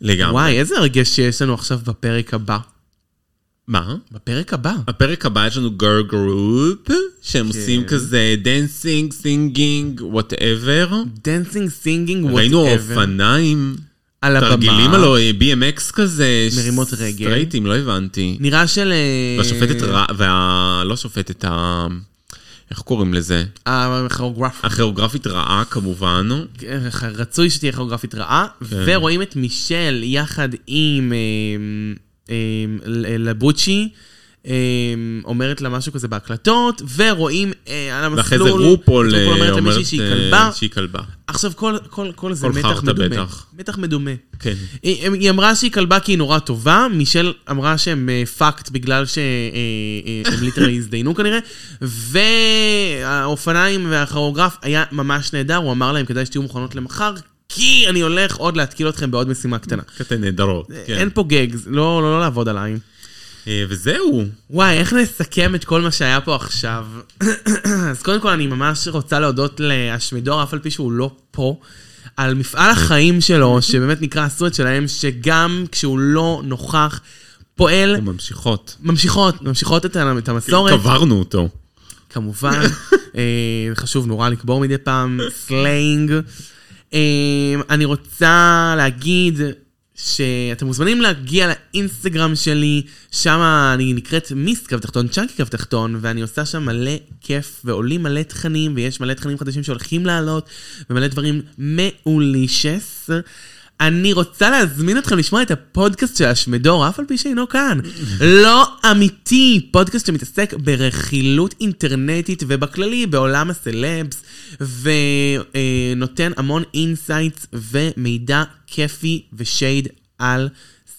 [SPEAKER 3] לגמרי.
[SPEAKER 2] וואי, איזה הרגש שיש לנו עכשיו בפרק הבא.
[SPEAKER 3] מה?
[SPEAKER 2] בפרק הבא.
[SPEAKER 3] הפרק הבא יש לנו גר גרופ, שהם
[SPEAKER 2] כן.
[SPEAKER 3] עושים כזה דנסינג, סינגינג, וואטאבר.
[SPEAKER 2] דנסינג, סינגינג, וואטאבר.
[SPEAKER 3] ראינו אופניים,
[SPEAKER 2] על הבמה.
[SPEAKER 3] תרגילים הלוא אה, BMX כזה. ש-
[SPEAKER 2] מרימות רגל.
[SPEAKER 3] סטרייטים, לא הבנתי.
[SPEAKER 2] נראה של... אה,
[SPEAKER 3] והשופטת, רע- וה... לא שופטת, ה... איך קוראים לזה?
[SPEAKER 2] הכוריאוגרפיה.
[SPEAKER 3] הכיאוגרפית רעה כמובן.
[SPEAKER 2] רצוי שתהיה כוריאוגרפית רעה,
[SPEAKER 3] כן.
[SPEAKER 2] ורואים את מישל יחד עם אמ, אמ, ל- לבוצ'י, אמ, אומרת לה משהו כזה בהקלטות, ורואים אה, על המסלול,
[SPEAKER 3] ואחרי זה רופול
[SPEAKER 2] את
[SPEAKER 3] אה,
[SPEAKER 2] אומרת
[SPEAKER 3] אומרת
[SPEAKER 2] למישהי שהיא
[SPEAKER 3] אה,
[SPEAKER 2] כלבה.
[SPEAKER 3] שהיא כלבה.
[SPEAKER 2] עכשיו כל- כל כל זה
[SPEAKER 3] כל
[SPEAKER 2] מתח
[SPEAKER 3] חרטא
[SPEAKER 2] מדומה.
[SPEAKER 3] בטח.
[SPEAKER 2] מתח מדומה.
[SPEAKER 3] כן.
[SPEAKER 2] היא היא אמרה שהיא כלבה כי היא נורא טובה, מישל אמרה שהם פאקט בגלל אה, שהם ליטרלי הזדיינו כנראה, והאופניים והכוריאוגרף היה ממש נהדר, הוא אמר להם כדאי שתהיו מוכנות למחר, כי אני הולך עוד להתקיל אתכם בעוד משימה קטנה.
[SPEAKER 3] קטן נהדרות. כן.
[SPEAKER 2] אה, אין פה גגס, לא לא- לא לעבוד עליי.
[SPEAKER 3] אה, וזהו.
[SPEAKER 2] וואי, איך נסכם את כל מה שהיה פה עכשיו? אז קודם כל, אני ממש רוצה להודות לאשמידור, אף על פי שהוא לא פה, על מפעל החיים שלו, שבאמת נקרא עשו את שלהם, שגם כשהוא לא נוכח, פועל,
[SPEAKER 3] אנחנו ממשיכות.
[SPEAKER 2] ממשיכות, ממשיכות את ה- את המסורת.
[SPEAKER 3] קברנו אותו.
[SPEAKER 2] כמובן. אה, חשוב נורא לקבור מדי פעם, סלנג. אה, אני רוצה להגיד שאתם מוזמנים להגיע לאינסטגרם שלי, שם אני נקראת מיס קו תחתון, צ'אנקי קו תחתון, ואני עושה שם מלא כיף, ועולים מלא תכנים, ויש מלא תכנים חדשים שהולכים לעלות, ומלא דברים מעולישס. אני רוצה להזמין אתכם לשמוע את הפודקאסט של אשמדור, אף על פי שאינו כאן. לא אמיתי, פודקאסט שמתעסק ברכילות אינטרנטית ובכללי בעולם הסלבס, ונותן המון אינסייטס ומידע כיפי ושייד על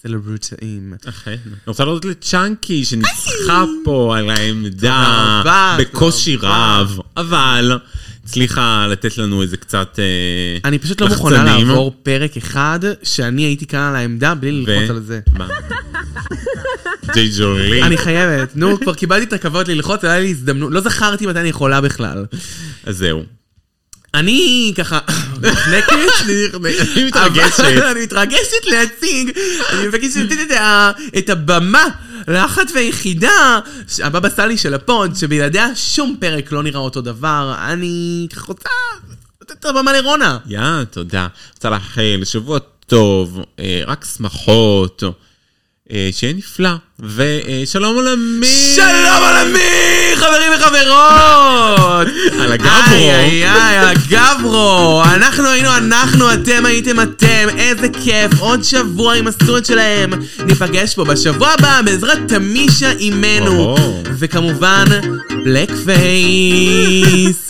[SPEAKER 2] סלברטאים.
[SPEAKER 3] אכן. אוקיי. אני רוצה להודות לצ'אנקי שניצחה פה על העמדה
[SPEAKER 2] רבה,
[SPEAKER 3] בקושי
[SPEAKER 2] תודה רבה.
[SPEAKER 3] רב, אבל הצליחה לתת לנו איזה קצת אה,
[SPEAKER 2] אני פשוט לא מוכנה
[SPEAKER 3] לחצנים.
[SPEAKER 2] לעבור פרק אחד שאני הייתי כאן על העמדה בלי ללחוץ על זה.
[SPEAKER 3] מה? ג'יי ג'ולי.
[SPEAKER 2] אני חייבת, נו, כבר קיבלתי את הכבוד ללחוץ, היה לי הזדמנות, לא זכרתי מתי אני יכולה בכלל.
[SPEAKER 3] אז זהו.
[SPEAKER 2] אני ככה נחנקת,
[SPEAKER 3] אני מתרגשת.
[SPEAKER 2] אבל אני מתרגשת להציג, אני מבקשת לתת את ה- את הבמה לאחת והיחידה, ש- הבבא סאלי של הפוד, שבלעדיה שום פרק לא נראה אותו דבר, אני ככה רוצה לתת את הבמה לרונה.
[SPEAKER 3] יא, תודה. רוצה לאחל שבוע טוב, אה, רק שמחות, אה, שיהיה נפלא, ושלום עולמי.
[SPEAKER 2] שלום עולמי, חברים וחברות! הזאת. איי,
[SPEAKER 3] על הגברו.
[SPEAKER 2] איי, איי, על הגברו. אנחנו היינו אנחנו, אתם הייתם אתם. איזה כיף, עוד שבוע עם הסוד שלהם. ניפגש פה בשבוע הבא בעזרת תמישה אימנו.
[SPEAKER 3] וואו.
[SPEAKER 2] וכמובן, בלק פייס.